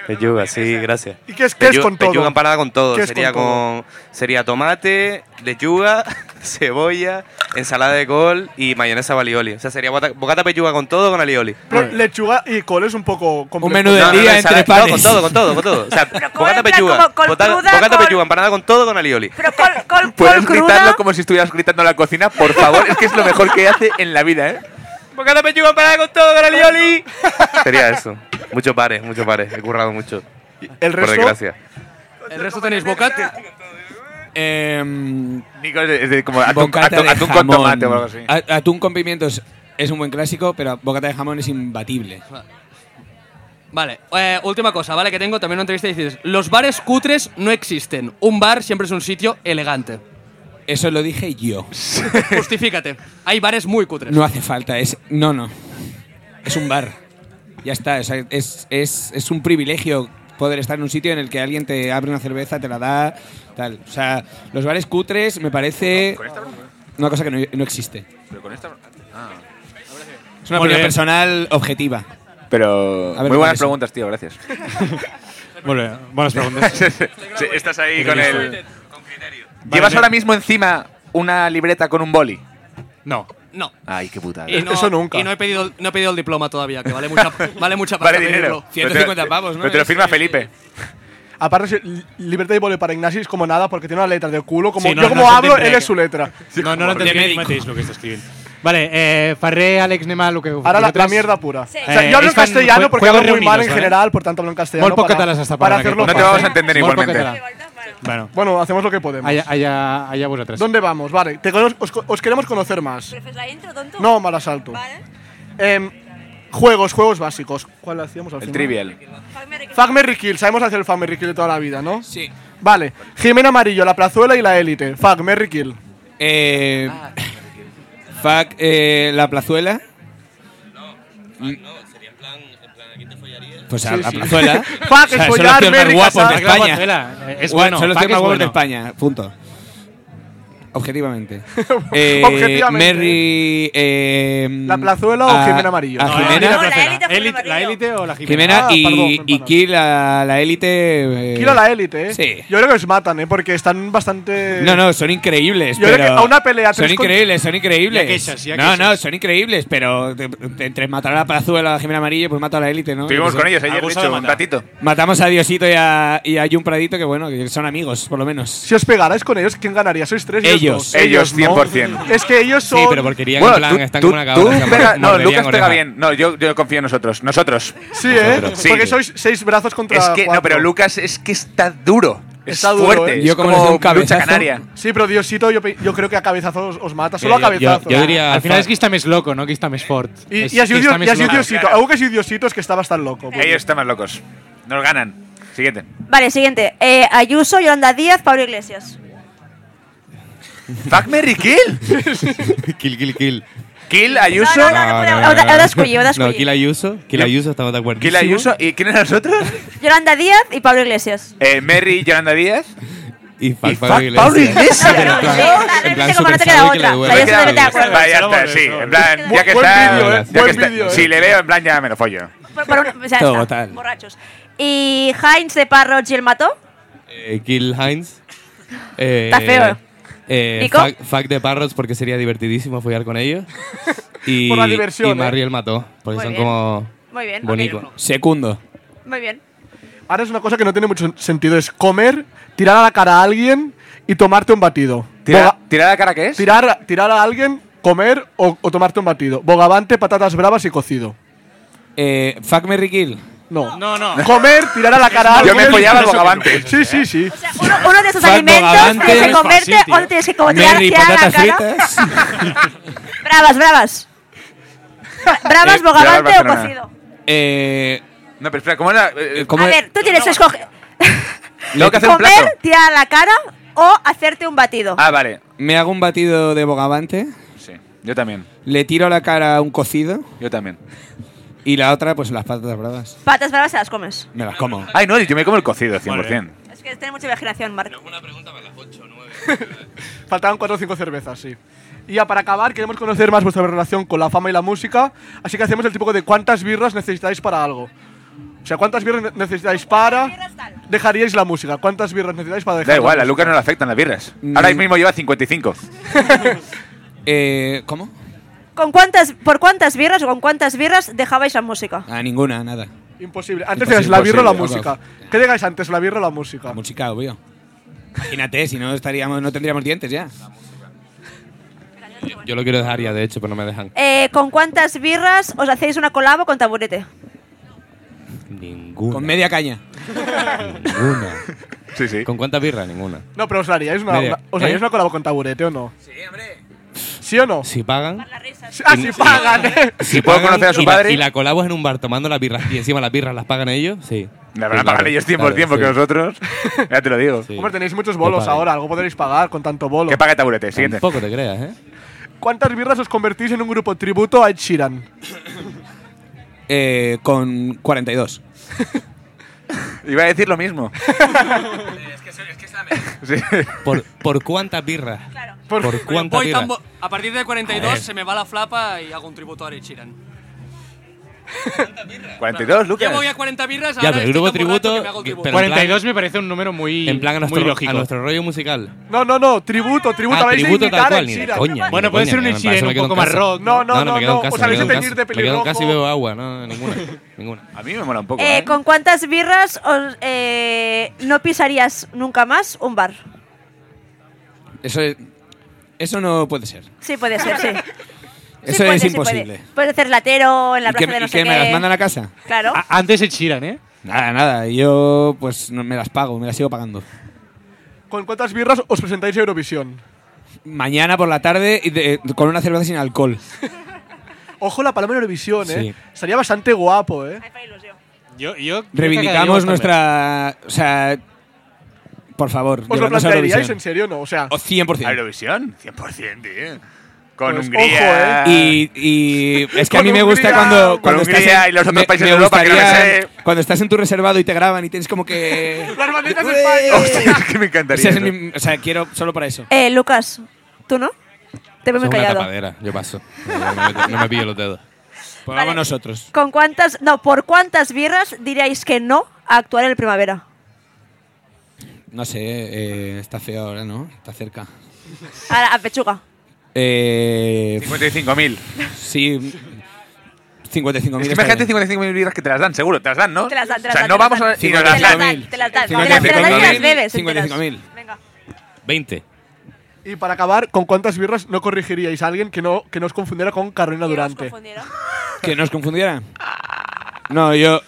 [SPEAKER 10] Pelluga, sí, gracias.
[SPEAKER 3] ¿Y qué es- qué es con todo?
[SPEAKER 10] Pelluga empanada con todo.
[SPEAKER 3] ¿Qué es
[SPEAKER 10] Sería
[SPEAKER 3] con todo?
[SPEAKER 10] con, sería tomate, lechuga, cebolla, ensalada de col y mayonesa valioli. O sea, sería bota- bocata pechuga con todo con alioli.
[SPEAKER 3] Pero lechuga y col es un poco complejo.
[SPEAKER 7] menú de- día entre
[SPEAKER 10] ensalada-
[SPEAKER 7] panes.
[SPEAKER 10] con todo, con todo, con todo. O sea,
[SPEAKER 2] Pero col
[SPEAKER 10] bocata
[SPEAKER 2] en plan
[SPEAKER 10] pechuga,
[SPEAKER 2] como col
[SPEAKER 10] bota-
[SPEAKER 2] cruda,
[SPEAKER 10] bocata
[SPEAKER 2] col-
[SPEAKER 10] pechuga empanada con todo con alioli.
[SPEAKER 2] Pero col, col, col
[SPEAKER 5] Puedes
[SPEAKER 2] cruda.
[SPEAKER 5] gritarlo como si estuvieras gritando en la cocina, por favor. es que es lo mejor que hace en la vida, ¿eh?
[SPEAKER 10] Bocata pechuga empanada con todo con alioli. Sería eso. Muchos pares, muchos pares. He currado mucho.
[SPEAKER 3] El
[SPEAKER 10] Por
[SPEAKER 3] resto,
[SPEAKER 10] desgracia.
[SPEAKER 9] El resto tenéis bocata.
[SPEAKER 7] Em,
[SPEAKER 5] Nico es de, es de como atún,
[SPEAKER 7] bocata
[SPEAKER 5] atún-
[SPEAKER 7] de
[SPEAKER 5] atún con
[SPEAKER 7] jamón.
[SPEAKER 5] tomate o algo así.
[SPEAKER 7] A- Atún con pimientos es un buen clásico, pero bocata de jamón es imbatible.
[SPEAKER 9] Vale, eh, última cosa, ¿vale? Que tengo también una entrevista y dices, los bares cutres no existen. Un bar siempre es un sitio elegante.
[SPEAKER 7] Eso lo dije yo.
[SPEAKER 9] Justifícate. Hay bares muy cutres.
[SPEAKER 7] No hace falta, es. No, no. Es un bar. Ya está, o sea, es, es, es un privilegio poder estar en un sitio en el que alguien te abre una cerveza, te la da, tal. O sea, los bares cutres me parece una cosa que no, no existe. Es una
[SPEAKER 1] Muy
[SPEAKER 7] opinión
[SPEAKER 1] bien.
[SPEAKER 7] personal objetiva.
[SPEAKER 5] Pero
[SPEAKER 7] A ver,
[SPEAKER 5] muy
[SPEAKER 7] ¿cuál
[SPEAKER 5] buenas
[SPEAKER 7] es?
[SPEAKER 5] preguntas, tío, gracias.
[SPEAKER 1] Molt bé, bones preguntes.
[SPEAKER 5] Sí, estás ahí con el. ¿Llevas
[SPEAKER 1] Vale.
[SPEAKER 5] ahora mismo encima una libreta con un boli?
[SPEAKER 1] No.
[SPEAKER 9] No.
[SPEAKER 5] Ay, qué putada.
[SPEAKER 9] Y no,
[SPEAKER 3] Eso nunca.
[SPEAKER 9] Y no he pedido, el- no he pedido el diploma todavía, que vale mucha, vale mucha pasta
[SPEAKER 5] Vale dinero.
[SPEAKER 9] pedirlo.
[SPEAKER 7] 150 pavos, ¿no?
[SPEAKER 5] Pero te lo firma Felipe.
[SPEAKER 3] aparte, si- li- libertad y vole para Ignasi es como nada porque tiene una letra de culo. Como,
[SPEAKER 1] Sí, no,
[SPEAKER 3] yo
[SPEAKER 1] no
[SPEAKER 3] como
[SPEAKER 1] entendré
[SPEAKER 3] hablo,
[SPEAKER 1] que-
[SPEAKER 3] él es su letra.
[SPEAKER 1] No, no l'entendria ell mateix, el que està escrivint. Vale, eh, Ferrer, Àlex, anem a lo que...
[SPEAKER 3] Ahora la, la
[SPEAKER 1] vosaltres-
[SPEAKER 3] mierda pura.
[SPEAKER 2] Sí.
[SPEAKER 3] O sea,
[SPEAKER 1] Eh,
[SPEAKER 3] yo hablo
[SPEAKER 1] es
[SPEAKER 3] en
[SPEAKER 1] fan-
[SPEAKER 3] castellano
[SPEAKER 1] jue-
[SPEAKER 3] porque hablo
[SPEAKER 1] juegos
[SPEAKER 3] muy mal en
[SPEAKER 1] reunidos, ¿vale?
[SPEAKER 3] general, por tanto hablo en castellano.
[SPEAKER 1] ¿eh? Molt poc
[SPEAKER 3] para-
[SPEAKER 1] català s'està
[SPEAKER 3] Para
[SPEAKER 1] parlant.
[SPEAKER 3] hacerlo
[SPEAKER 5] No te
[SPEAKER 3] fácil.
[SPEAKER 5] vamos a entender
[SPEAKER 1] Molt poc
[SPEAKER 5] igualmente.
[SPEAKER 1] català. Bueno,
[SPEAKER 3] Bueno, hacemos lo que podemos.
[SPEAKER 1] allá, allá, allá vosaltres.
[SPEAKER 3] ¿Dónde vamos? Vale, te cono- os, co- os queremos conocer más.
[SPEAKER 2] ¿Prefieres la intro, tonto?
[SPEAKER 3] No, mal asalto.
[SPEAKER 2] Vale.
[SPEAKER 3] Em, juegos, juegos básicos. ¿Cuál hacíamos al
[SPEAKER 5] El
[SPEAKER 3] final?
[SPEAKER 5] trivial.
[SPEAKER 3] Fuck Merry Kill. Sabemos hacer el Fuck Merry Kill de toda la vida, ¿no?
[SPEAKER 7] Sí.
[SPEAKER 3] Vale. Jimena Amarillo, La Plazuela y La Élite. Fuck Merry Kill.
[SPEAKER 7] Eh, fuck, eh, la plazuela. Pues a
[SPEAKER 3] Sí,
[SPEAKER 7] la
[SPEAKER 3] sí.
[SPEAKER 7] plazuela.
[SPEAKER 3] Fuck, es
[SPEAKER 7] son los
[SPEAKER 3] follar,
[SPEAKER 7] tíos más
[SPEAKER 3] Mary,
[SPEAKER 7] guapos
[SPEAKER 1] Clar,
[SPEAKER 3] casar.
[SPEAKER 7] de España.
[SPEAKER 1] Guardiola, eh, És
[SPEAKER 7] Guau,
[SPEAKER 1] bueno,
[SPEAKER 7] son los
[SPEAKER 1] Pac
[SPEAKER 7] tíos
[SPEAKER 1] és
[SPEAKER 7] más guapos
[SPEAKER 1] bueno.
[SPEAKER 7] de España, punto. Objetivamente.
[SPEAKER 3] Objetivamente.
[SPEAKER 7] Mary. eh,
[SPEAKER 3] ¿La Plazuela o
[SPEAKER 7] a-
[SPEAKER 3] Jimena Amarillo?
[SPEAKER 7] A
[SPEAKER 3] No,
[SPEAKER 7] Jimena,
[SPEAKER 2] no, la
[SPEAKER 1] Jimena.
[SPEAKER 2] élite fue
[SPEAKER 1] Élite-
[SPEAKER 2] Mario.
[SPEAKER 1] la élite o la Jimena.
[SPEAKER 7] Jimena
[SPEAKER 3] Ah,
[SPEAKER 7] y,
[SPEAKER 3] perdón,
[SPEAKER 7] y
[SPEAKER 3] perdón.
[SPEAKER 7] Kill, la, la élite. eh,
[SPEAKER 3] Quiero La Élite, ¿eh?
[SPEAKER 7] Sí.
[SPEAKER 3] Yo creo que os matan, ¿eh? Porque están bastante.
[SPEAKER 7] No, no, son increíbles.
[SPEAKER 3] Yo creo
[SPEAKER 7] pero
[SPEAKER 3] que a una pelea
[SPEAKER 7] Son
[SPEAKER 3] tres con-
[SPEAKER 7] increíbles, son increíbles.
[SPEAKER 1] Ya queixes, ya
[SPEAKER 7] no, no,
[SPEAKER 1] queixes.
[SPEAKER 7] son increíbles, pero de- de- entre matar a la Plazuela, a la Jimena Amarillo, pues mato a la élite, ¿no?
[SPEAKER 5] Estuvimos
[SPEAKER 7] Sí.
[SPEAKER 5] con ellos ayer,
[SPEAKER 1] Algo
[SPEAKER 5] de
[SPEAKER 1] se ha de
[SPEAKER 5] hecho, un
[SPEAKER 1] matar.
[SPEAKER 5] ratito.
[SPEAKER 7] Matamos a Diosito y a, y a Jun Pradito, que bueno, que son amigos, por lo menos.
[SPEAKER 3] Si os pegarais con ellos, ¿quién ganaría? ¿Sois tres? y
[SPEAKER 7] Ellos.
[SPEAKER 3] dos?
[SPEAKER 5] Ellos,
[SPEAKER 3] ¿no?
[SPEAKER 5] 100%.
[SPEAKER 3] Es que ellos son.
[SPEAKER 6] Sí, pero porquería en plan, están con una
[SPEAKER 5] tú
[SPEAKER 6] cabeza.
[SPEAKER 5] pega- no, Lucas pega bien. No, yo, yo confío en nosotros. Nosotros.
[SPEAKER 3] Sí, ¿eh?
[SPEAKER 5] Sí.
[SPEAKER 3] Porque sois seis brazos contra.
[SPEAKER 5] Es que, no,
[SPEAKER 3] cuatro.
[SPEAKER 5] pero Lucas es que está duro.
[SPEAKER 3] Está
[SPEAKER 5] es
[SPEAKER 3] duro,
[SPEAKER 5] fuerte.
[SPEAKER 3] ¿eh?
[SPEAKER 5] es
[SPEAKER 7] Yo como les dé un
[SPEAKER 5] lucha
[SPEAKER 7] cabezazo.
[SPEAKER 5] canaria.
[SPEAKER 3] Sí, pero Diosito, yo, pe- yo creo que a cabezazos os mata. Solo
[SPEAKER 7] Eh,
[SPEAKER 3] a
[SPEAKER 6] Yo- yo-
[SPEAKER 3] cabezazos.
[SPEAKER 6] yo diría-
[SPEAKER 1] Al final és qui està més loco, no qui està més fort.
[SPEAKER 3] Y,
[SPEAKER 1] És
[SPEAKER 3] y así
[SPEAKER 1] qui
[SPEAKER 3] Dios,
[SPEAKER 1] està més
[SPEAKER 3] y así
[SPEAKER 1] loco.
[SPEAKER 3] Diosito.
[SPEAKER 5] Claro.
[SPEAKER 3] Algo que así Diosito es que estaba tan loco. pues.
[SPEAKER 5] Ellos están más locos. Nos ganan. Siguiente.
[SPEAKER 2] Vale, siguiente. Eh, Ayuso, Yolanda Díaz, Pablo Iglesias.
[SPEAKER 5] Fuck Mary Kill.
[SPEAKER 6] Kill, kill, kill.
[SPEAKER 5] Kill Ayuso.
[SPEAKER 2] No, no, no, no, ahora- ahora escollí, ahora
[SPEAKER 6] No,
[SPEAKER 2] escollí.
[SPEAKER 6] Kill Ayuso. Kill Ayuso estaba de acuerdo.
[SPEAKER 5] Kill Ayuso. ¿Y quién eran nosotros?
[SPEAKER 2] Yolanda Díaz y Pablo Iglesias.
[SPEAKER 5] Eh, Mary y Yolanda Díaz.
[SPEAKER 6] Y Eh,
[SPEAKER 5] Y
[SPEAKER 6] fuck
[SPEAKER 5] fuck
[SPEAKER 6] Pablo
[SPEAKER 5] Pablo
[SPEAKER 6] Iglesias.
[SPEAKER 5] Iglesias.
[SPEAKER 2] Pero en plan-
[SPEAKER 6] Sí,
[SPEAKER 2] realmente
[SPEAKER 6] en plan,
[SPEAKER 2] como no te
[SPEAKER 6] súper
[SPEAKER 2] queda
[SPEAKER 6] sabe que le
[SPEAKER 2] otra.
[SPEAKER 6] duele.
[SPEAKER 2] O sea, yo
[SPEAKER 5] Me
[SPEAKER 2] solamente
[SPEAKER 5] queda-
[SPEAKER 2] de acuerdo.
[SPEAKER 5] Vale, ya está, sí. En plan, ya que
[SPEAKER 3] Buen
[SPEAKER 5] está.
[SPEAKER 3] vídeo,
[SPEAKER 6] ¿eh?
[SPEAKER 5] ya que
[SPEAKER 3] Buen
[SPEAKER 5] está-
[SPEAKER 3] vídeo, ¿eh?
[SPEAKER 5] Si le veo, en plan, ya me lo follo.
[SPEAKER 2] Por- por un- o sea,
[SPEAKER 7] Todo
[SPEAKER 2] está,
[SPEAKER 7] tal.
[SPEAKER 2] borrachos. Y Heinz de Parro y el mató.
[SPEAKER 6] Eh, Kill Heinz. Eh,
[SPEAKER 2] Está feo.
[SPEAKER 6] eh,
[SPEAKER 2] ¿Nico?
[SPEAKER 6] fuck, fuck de Parrots porque sería divertidísimo follar con ellos. Y,
[SPEAKER 3] Por la diversión,
[SPEAKER 6] Y
[SPEAKER 3] ¿eh?
[SPEAKER 6] Marriel mató. Porque
[SPEAKER 2] Muy
[SPEAKER 6] son
[SPEAKER 2] bien.
[SPEAKER 6] como.
[SPEAKER 2] Muy bien.
[SPEAKER 6] Bonico.
[SPEAKER 2] ok.
[SPEAKER 7] Segundo.
[SPEAKER 2] Muy bien.
[SPEAKER 3] Ahora es una cosa que no tiene mucho sentido: es comer, tirar a la cara a alguien y tomarte un batido.
[SPEAKER 5] ¿Tira,
[SPEAKER 3] Boga-
[SPEAKER 5] ¿Tira la cara qué es?
[SPEAKER 3] tirar, tirar a alguien, comer o, o tomarte un batido. Bogavante, patatas bravas y cocido.
[SPEAKER 7] Eh, fuck Mary Kill.
[SPEAKER 3] No.
[SPEAKER 1] No, no.
[SPEAKER 3] Comer, tirar a la cara a
[SPEAKER 5] Yo
[SPEAKER 3] alguien.
[SPEAKER 5] me follaba el
[SPEAKER 1] eso que
[SPEAKER 5] bogavante.
[SPEAKER 3] Sí, sí, sí.
[SPEAKER 2] O sea, uno, uno de esos
[SPEAKER 7] Fuck
[SPEAKER 2] alimentos
[SPEAKER 7] Bogavante.
[SPEAKER 2] tienes que
[SPEAKER 7] Es
[SPEAKER 2] comerte,
[SPEAKER 1] fácil, tío.
[SPEAKER 2] otro tienes que como tirar
[SPEAKER 7] Mary
[SPEAKER 2] hacia la
[SPEAKER 7] patatas
[SPEAKER 2] cara.
[SPEAKER 7] fritas.
[SPEAKER 2] Bravas, bravas. ¿Bravas,
[SPEAKER 5] Eh, bravas
[SPEAKER 2] bogavante o
[SPEAKER 5] Barcelona.
[SPEAKER 2] cocido?
[SPEAKER 7] Eh,
[SPEAKER 5] no, pero espera, ¿cómo era? Eh,
[SPEAKER 2] A ver, tú tienes que escoger
[SPEAKER 5] Tengo que hacer un plato.
[SPEAKER 2] comer, tirar a la cara o hacerte un batido.
[SPEAKER 5] Ah, vale.
[SPEAKER 7] Me hago un batido de bogavante,
[SPEAKER 5] Sí, yo también.
[SPEAKER 7] le tiro a la cara un cocido
[SPEAKER 5] Yo también.
[SPEAKER 7] y la otra, pues las patatas bravas.
[SPEAKER 2] Patas bravas se las comes.
[SPEAKER 7] Me las como.
[SPEAKER 5] Ay, no, yo me como el cocido, 100%.
[SPEAKER 2] Es que tiene mucha imaginación, Marc.
[SPEAKER 3] Faltaban cuatro o cinco cervezas, sí. Y ya para acabar, queremos conocer más vuestra relación con la fama y la música, así que hacemos el tipo de cuántas birras necesitáis para algo. O sea, ¿cuántas birras ne- necesitáis para...? Dejaríais la música. ¿Cuántas birras necesitáis para dejar
[SPEAKER 5] Da igual,
[SPEAKER 3] la
[SPEAKER 5] a Lucas no le afectan las birras. Ahora
[SPEAKER 7] Mm.
[SPEAKER 5] mismo lleva 55.
[SPEAKER 7] Eh, ¿Cómo?
[SPEAKER 2] ¿Con cuántas, ¿Por cuántas birras o con cuántas birras dejabais la música?
[SPEAKER 7] Ah, ninguna, nada.
[SPEAKER 3] Imposible. Antes
[SPEAKER 7] Imposible,
[SPEAKER 3] dejáis la birra o la
[SPEAKER 7] imposible,
[SPEAKER 3] música. ¿Qué dejáis antes, la birra o la música?
[SPEAKER 7] Música, obvio. Imagínate, si no estaríamos, no tendríamos dientes ya.
[SPEAKER 6] Yo lo quiero dejar ya, de hecho, pero no me dejan.
[SPEAKER 2] Eh, ¿Con cuántas birras os hacéis una colabo con taburete?
[SPEAKER 6] Ninguna.
[SPEAKER 7] Con media caña.
[SPEAKER 6] Ninguna.
[SPEAKER 5] Sí, sí.
[SPEAKER 6] ¿Con cuántas birras? Ninguna.
[SPEAKER 3] No, pero os la haríais una,
[SPEAKER 6] Media.
[SPEAKER 3] una- os haríais
[SPEAKER 6] ¿Eh?
[SPEAKER 3] una colabo con taburete o no. Sí, hombre. ¿Sí o no?
[SPEAKER 6] Si pagan.
[SPEAKER 3] Sí- Ah, sí, pagan, eh.
[SPEAKER 5] Si puedo
[SPEAKER 6] pagan
[SPEAKER 5] conocer a su
[SPEAKER 6] y la-
[SPEAKER 5] padre-
[SPEAKER 6] y la colabo es en un bar tomando las birras y encima las birras las pagan ellos, sí.
[SPEAKER 5] La van a
[SPEAKER 6] Sí,
[SPEAKER 5] pagar
[SPEAKER 6] claro,
[SPEAKER 5] ellos 100%
[SPEAKER 6] claro,
[SPEAKER 5] porque
[SPEAKER 6] sí.
[SPEAKER 5] nosotros. Ya te lo digo.
[SPEAKER 6] Sí.
[SPEAKER 3] Hombre, tenéis muchos bolos
[SPEAKER 6] pagan.
[SPEAKER 3] ahora, algo podréis pagar con tanto bolo.
[SPEAKER 5] Que pague taburete, siguiente.
[SPEAKER 6] Tampoco te creas, ¿eh?
[SPEAKER 3] ¿Cuántas birras os convertís en un grupo tributo a Ed Sheeran?
[SPEAKER 7] Eh, con 42.
[SPEAKER 5] Iba a decir lo mismo. Sí.
[SPEAKER 6] ¿Por, por cuántas birras?
[SPEAKER 2] Eh,
[SPEAKER 6] ¿Por, cuántas
[SPEAKER 9] Voy
[SPEAKER 6] birras?
[SPEAKER 9] tan bo- a partir de 42 se me va la flapa y hago un tributo a Ed Sheeran.
[SPEAKER 5] 42, Lucas.
[SPEAKER 9] Yo voy a 40 birras,
[SPEAKER 6] Ya,
[SPEAKER 9] ahora
[SPEAKER 6] pero el
[SPEAKER 9] estoy
[SPEAKER 6] grupo
[SPEAKER 9] tan borracho
[SPEAKER 6] tributo-
[SPEAKER 9] que me hago el
[SPEAKER 6] que-
[SPEAKER 9] tributo.
[SPEAKER 6] pero- en plan-
[SPEAKER 1] 42 me parece un número muy,
[SPEAKER 6] En plan a
[SPEAKER 1] muy
[SPEAKER 6] nuestro,
[SPEAKER 1] lógico.
[SPEAKER 6] a nuestro rollo musical.
[SPEAKER 3] No, no, no, tributo, tributo.
[SPEAKER 6] Ah,
[SPEAKER 3] habéis
[SPEAKER 6] tributo
[SPEAKER 3] de
[SPEAKER 6] tal
[SPEAKER 3] imitar a
[SPEAKER 6] cual,
[SPEAKER 3] Ed
[SPEAKER 6] ni de
[SPEAKER 3] Sheeran.
[SPEAKER 6] coña. ni
[SPEAKER 1] Bueno,
[SPEAKER 6] de
[SPEAKER 1] puede
[SPEAKER 6] coña,
[SPEAKER 1] ser un
[SPEAKER 6] me
[SPEAKER 1] Ed
[SPEAKER 6] parece,
[SPEAKER 1] Shearin
[SPEAKER 6] me
[SPEAKER 1] un
[SPEAKER 6] quedo en
[SPEAKER 1] poco más
[SPEAKER 6] casa.
[SPEAKER 1] rock,
[SPEAKER 3] No, no,
[SPEAKER 6] no, me
[SPEAKER 3] no,
[SPEAKER 6] quedo en
[SPEAKER 3] no,
[SPEAKER 6] casa,
[SPEAKER 3] os
[SPEAKER 6] me
[SPEAKER 3] habéis
[SPEAKER 6] quedo
[SPEAKER 3] de
[SPEAKER 6] en
[SPEAKER 3] teñir
[SPEAKER 6] casa.
[SPEAKER 3] de
[SPEAKER 6] Me quedo en casa y
[SPEAKER 3] pelirrojo.
[SPEAKER 6] bebo agua, no, ninguna. ninguna.
[SPEAKER 5] A mí me mola un poco.
[SPEAKER 2] Eh,
[SPEAKER 5] ¿eh?
[SPEAKER 2] ¿Con cuántas birras os, eh, no pisarías nunca más un bar?
[SPEAKER 7] Eso es- Eso no puede ser.
[SPEAKER 2] Sí, puede ser, sí. Sí
[SPEAKER 7] Eso
[SPEAKER 2] puede,
[SPEAKER 7] es
[SPEAKER 2] sí
[SPEAKER 7] imposible.
[SPEAKER 2] puede. Puedes hacer latero en la
[SPEAKER 7] ¿Y que,
[SPEAKER 2] plaza de no
[SPEAKER 7] y
[SPEAKER 2] sé
[SPEAKER 7] que
[SPEAKER 2] qué.
[SPEAKER 7] me las mandan a casa?
[SPEAKER 2] Claro.
[SPEAKER 1] A- Ah. Antes el Sheeran, ¿eh?
[SPEAKER 7] Nada, nada. Yo, pues, no, me las pago, me las sigo pagando.
[SPEAKER 3] ¿Con cuántas birras os presentáis a Eurovisión?
[SPEAKER 7] Mañana por la tarde y de- con una cerveza sin alcohol.
[SPEAKER 3] Ojo la paloma en Eurovisión,
[SPEAKER 6] Sí.
[SPEAKER 3] eh. Estaría bastante guapo, eh.
[SPEAKER 1] Yo, yo creo que
[SPEAKER 7] Reivindicamos
[SPEAKER 1] cagaríamos
[SPEAKER 7] nuestra. O sea. Por favor,
[SPEAKER 3] ¿Os lo
[SPEAKER 7] llevadnos a
[SPEAKER 3] plantearíais en
[SPEAKER 7] Eurovisión.
[SPEAKER 3] serio o no? O sea,
[SPEAKER 7] O 100%.
[SPEAKER 5] ¿A Eurovisión? 100%, tío. Con
[SPEAKER 3] Pues,
[SPEAKER 5] Hungría.
[SPEAKER 3] ojo,
[SPEAKER 7] ¿eh? Y, y es que a mí
[SPEAKER 3] Con
[SPEAKER 7] me gusta
[SPEAKER 3] Hungría,
[SPEAKER 7] cuando,
[SPEAKER 3] con
[SPEAKER 7] cuando estás
[SPEAKER 5] Hungría
[SPEAKER 7] en,
[SPEAKER 5] y los otros
[SPEAKER 7] me-
[SPEAKER 5] países
[SPEAKER 7] me
[SPEAKER 5] de Europa que no me
[SPEAKER 7] gustaría-
[SPEAKER 5] sé.
[SPEAKER 7] cuando estás en tu reservado y te graban y tienes como que
[SPEAKER 3] las banderas de
[SPEAKER 7] Ué.
[SPEAKER 3] España.
[SPEAKER 5] Hostia, es que me
[SPEAKER 7] Ese
[SPEAKER 5] encantaría.
[SPEAKER 7] es
[SPEAKER 5] eso.
[SPEAKER 7] mi- o sea, quiero solo para eso.
[SPEAKER 2] Eh, Lucas, ¿tú no? Te veo
[SPEAKER 6] Eso
[SPEAKER 2] muy
[SPEAKER 6] es una
[SPEAKER 2] callado.
[SPEAKER 6] tapadera, yo paso. No, no me- no me pillo los dedos.
[SPEAKER 7] Pues
[SPEAKER 2] Vale.
[SPEAKER 7] vamos nosotros.
[SPEAKER 2] ¿Con cuántas, no, por cuántas birras diríais que no a actuar en el primavera?
[SPEAKER 7] No sé, eh, está feo ahora, ¿no? Está cerca.
[SPEAKER 2] A, a pechuga.
[SPEAKER 7] Eh,
[SPEAKER 5] 55.000.
[SPEAKER 7] sí. 55.000.
[SPEAKER 5] Es que
[SPEAKER 7] está
[SPEAKER 5] imagínate
[SPEAKER 7] bien.
[SPEAKER 5] 55.000 libras que te las dan, seguro. Te las dan, ¿no?
[SPEAKER 2] Te las dan, te
[SPEAKER 5] O
[SPEAKER 2] las
[SPEAKER 5] sea,
[SPEAKER 2] dan,
[SPEAKER 5] no
[SPEAKER 2] te las
[SPEAKER 5] vamos a.
[SPEAKER 2] dan.
[SPEAKER 5] y
[SPEAKER 2] Te
[SPEAKER 5] nos
[SPEAKER 2] las
[SPEAKER 5] dan.
[SPEAKER 2] dan, te las dan. Te las te las dan y las bebes. enteras.
[SPEAKER 7] 55.000.
[SPEAKER 2] Venga.
[SPEAKER 6] 20.
[SPEAKER 3] Y para acabar, ¿con cuántas birras no corrigiríais a alguien que no, que no os confundiera con Carolina
[SPEAKER 2] ¿Quién os
[SPEAKER 3] Durante?
[SPEAKER 2] confundieron?
[SPEAKER 7] ¿Que nos confundieran? No, yo.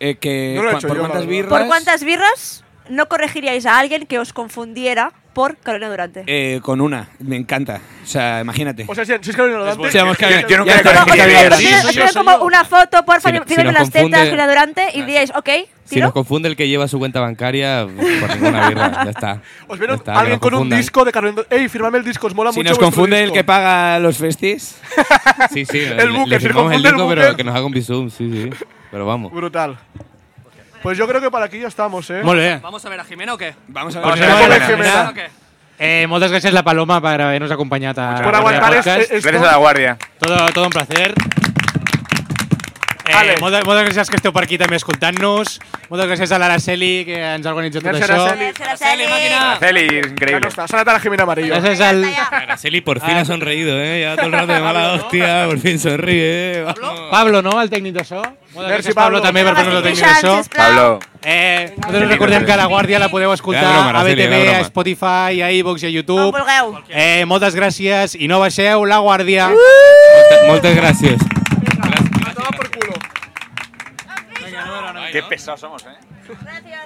[SPEAKER 7] Eh, que
[SPEAKER 3] No lo he
[SPEAKER 7] cua-
[SPEAKER 3] hecho
[SPEAKER 7] ¿Por
[SPEAKER 3] yo, la
[SPEAKER 7] cuántas
[SPEAKER 3] verdad.
[SPEAKER 7] birras?
[SPEAKER 2] ¿Por cuántas birras no corregiríais a alguien que os confundiera por Carolina Durante?
[SPEAKER 7] Eh, con una, me encanta. O sea, imagínate.
[SPEAKER 3] O sea, si si es Carolina Durante.
[SPEAKER 7] O sea, vamos,
[SPEAKER 5] Yo-
[SPEAKER 7] Carolina,
[SPEAKER 5] yo nunca
[SPEAKER 7] ya
[SPEAKER 5] le
[SPEAKER 7] está,
[SPEAKER 2] Como- os
[SPEAKER 5] corregiría
[SPEAKER 7] Carolina,
[SPEAKER 5] bien.
[SPEAKER 2] pido-
[SPEAKER 7] ahora.
[SPEAKER 2] os pido-
[SPEAKER 3] sí,
[SPEAKER 2] os
[SPEAKER 3] sí,
[SPEAKER 2] pido
[SPEAKER 3] sí,
[SPEAKER 2] como
[SPEAKER 3] sí.
[SPEAKER 2] una foto, porfa,
[SPEAKER 6] Si no- si
[SPEAKER 2] fírmame
[SPEAKER 6] nos
[SPEAKER 2] las tetas,
[SPEAKER 6] confunde-
[SPEAKER 2] Carolina Durante, y diríais, ok,
[SPEAKER 6] Si
[SPEAKER 2] tiro.
[SPEAKER 6] nos confunde el que lleva su cuenta bancaria, por ninguna birra, ya está.
[SPEAKER 3] Os viene
[SPEAKER 6] Ya está, que
[SPEAKER 3] Pues alguien
[SPEAKER 6] nos
[SPEAKER 3] con un
[SPEAKER 6] confundan.
[SPEAKER 3] disco de Carolina Durante. ¡Ey, firmame el disco! Os mola
[SPEAKER 7] Si
[SPEAKER 3] mucho.
[SPEAKER 7] nos
[SPEAKER 3] vuestro
[SPEAKER 7] confunde el
[SPEAKER 3] disco.
[SPEAKER 7] que paga los festis.
[SPEAKER 6] Sí, sí.
[SPEAKER 3] El
[SPEAKER 6] le-
[SPEAKER 3] Booker,
[SPEAKER 6] le firmamos
[SPEAKER 3] si
[SPEAKER 6] el
[SPEAKER 3] confunde el
[SPEAKER 6] disco,
[SPEAKER 3] Booker.
[SPEAKER 6] pero que nos haga un bizum, sí, sí. Pero vamos.
[SPEAKER 3] Brutal. Pues yo creo que para aquí ya estamos, eh.
[SPEAKER 1] Molt bé.
[SPEAKER 9] ¿Vamos a ver a Jimena o qué?
[SPEAKER 7] Vamos a
[SPEAKER 1] Pues
[SPEAKER 7] ver.
[SPEAKER 1] no
[SPEAKER 3] Vamos a ver,
[SPEAKER 1] vale,
[SPEAKER 3] Jimena.
[SPEAKER 1] Jimena.
[SPEAKER 9] ¿O qué?
[SPEAKER 1] Eh, moltes gràcies, La Paloma, per haver-nos acompanyat a
[SPEAKER 3] Por aguantar este, esto.
[SPEAKER 5] Gracias a la guardia.
[SPEAKER 1] Todo, todo un placer. Eh,
[SPEAKER 3] Vale.
[SPEAKER 1] moltes, moltes gràcies que esteu per aquí també escoltant-nos. Moltes gràcies a l'Araceli, que ens ha organitzat
[SPEAKER 3] Gràcies,
[SPEAKER 1] tot això.
[SPEAKER 3] Araceli.
[SPEAKER 2] Araceli,
[SPEAKER 9] máquina.
[SPEAKER 5] Celi, es
[SPEAKER 3] Ya no
[SPEAKER 5] increíble.
[SPEAKER 3] está. Sáltate a la Jimena Amarillo.
[SPEAKER 1] Gràcies al...
[SPEAKER 6] Araceli por fin ha sonreído, ¿eh? Ya todo el rato de mala hostia, por fin sonríe. ¿eh? Vamos.
[SPEAKER 1] Pablo, no?, el tècnic de so. Moltes
[SPEAKER 3] Merci,
[SPEAKER 1] gràcies, Pablo,
[SPEAKER 3] Pablo.
[SPEAKER 1] també per fer-nos el tècnic de so.
[SPEAKER 5] Pablo.
[SPEAKER 1] Eh, nosaltres recordem que La Guàrdia la podeu escoltar
[SPEAKER 6] Era broma,
[SPEAKER 1] a
[SPEAKER 6] Araceli,
[SPEAKER 1] BTV,
[SPEAKER 6] era broma.
[SPEAKER 1] a Spotify, a iVox i a
[SPEAKER 2] Com
[SPEAKER 1] YouTube.
[SPEAKER 2] vulgueu.
[SPEAKER 1] Eh, moltes gràcies i no baixeu La Guàrdia.
[SPEAKER 2] Uh!
[SPEAKER 6] Molta- Muchas gracias.
[SPEAKER 3] Toma por culo.
[SPEAKER 5] Qué pesados somos, ¿eh?
[SPEAKER 2] Gracias.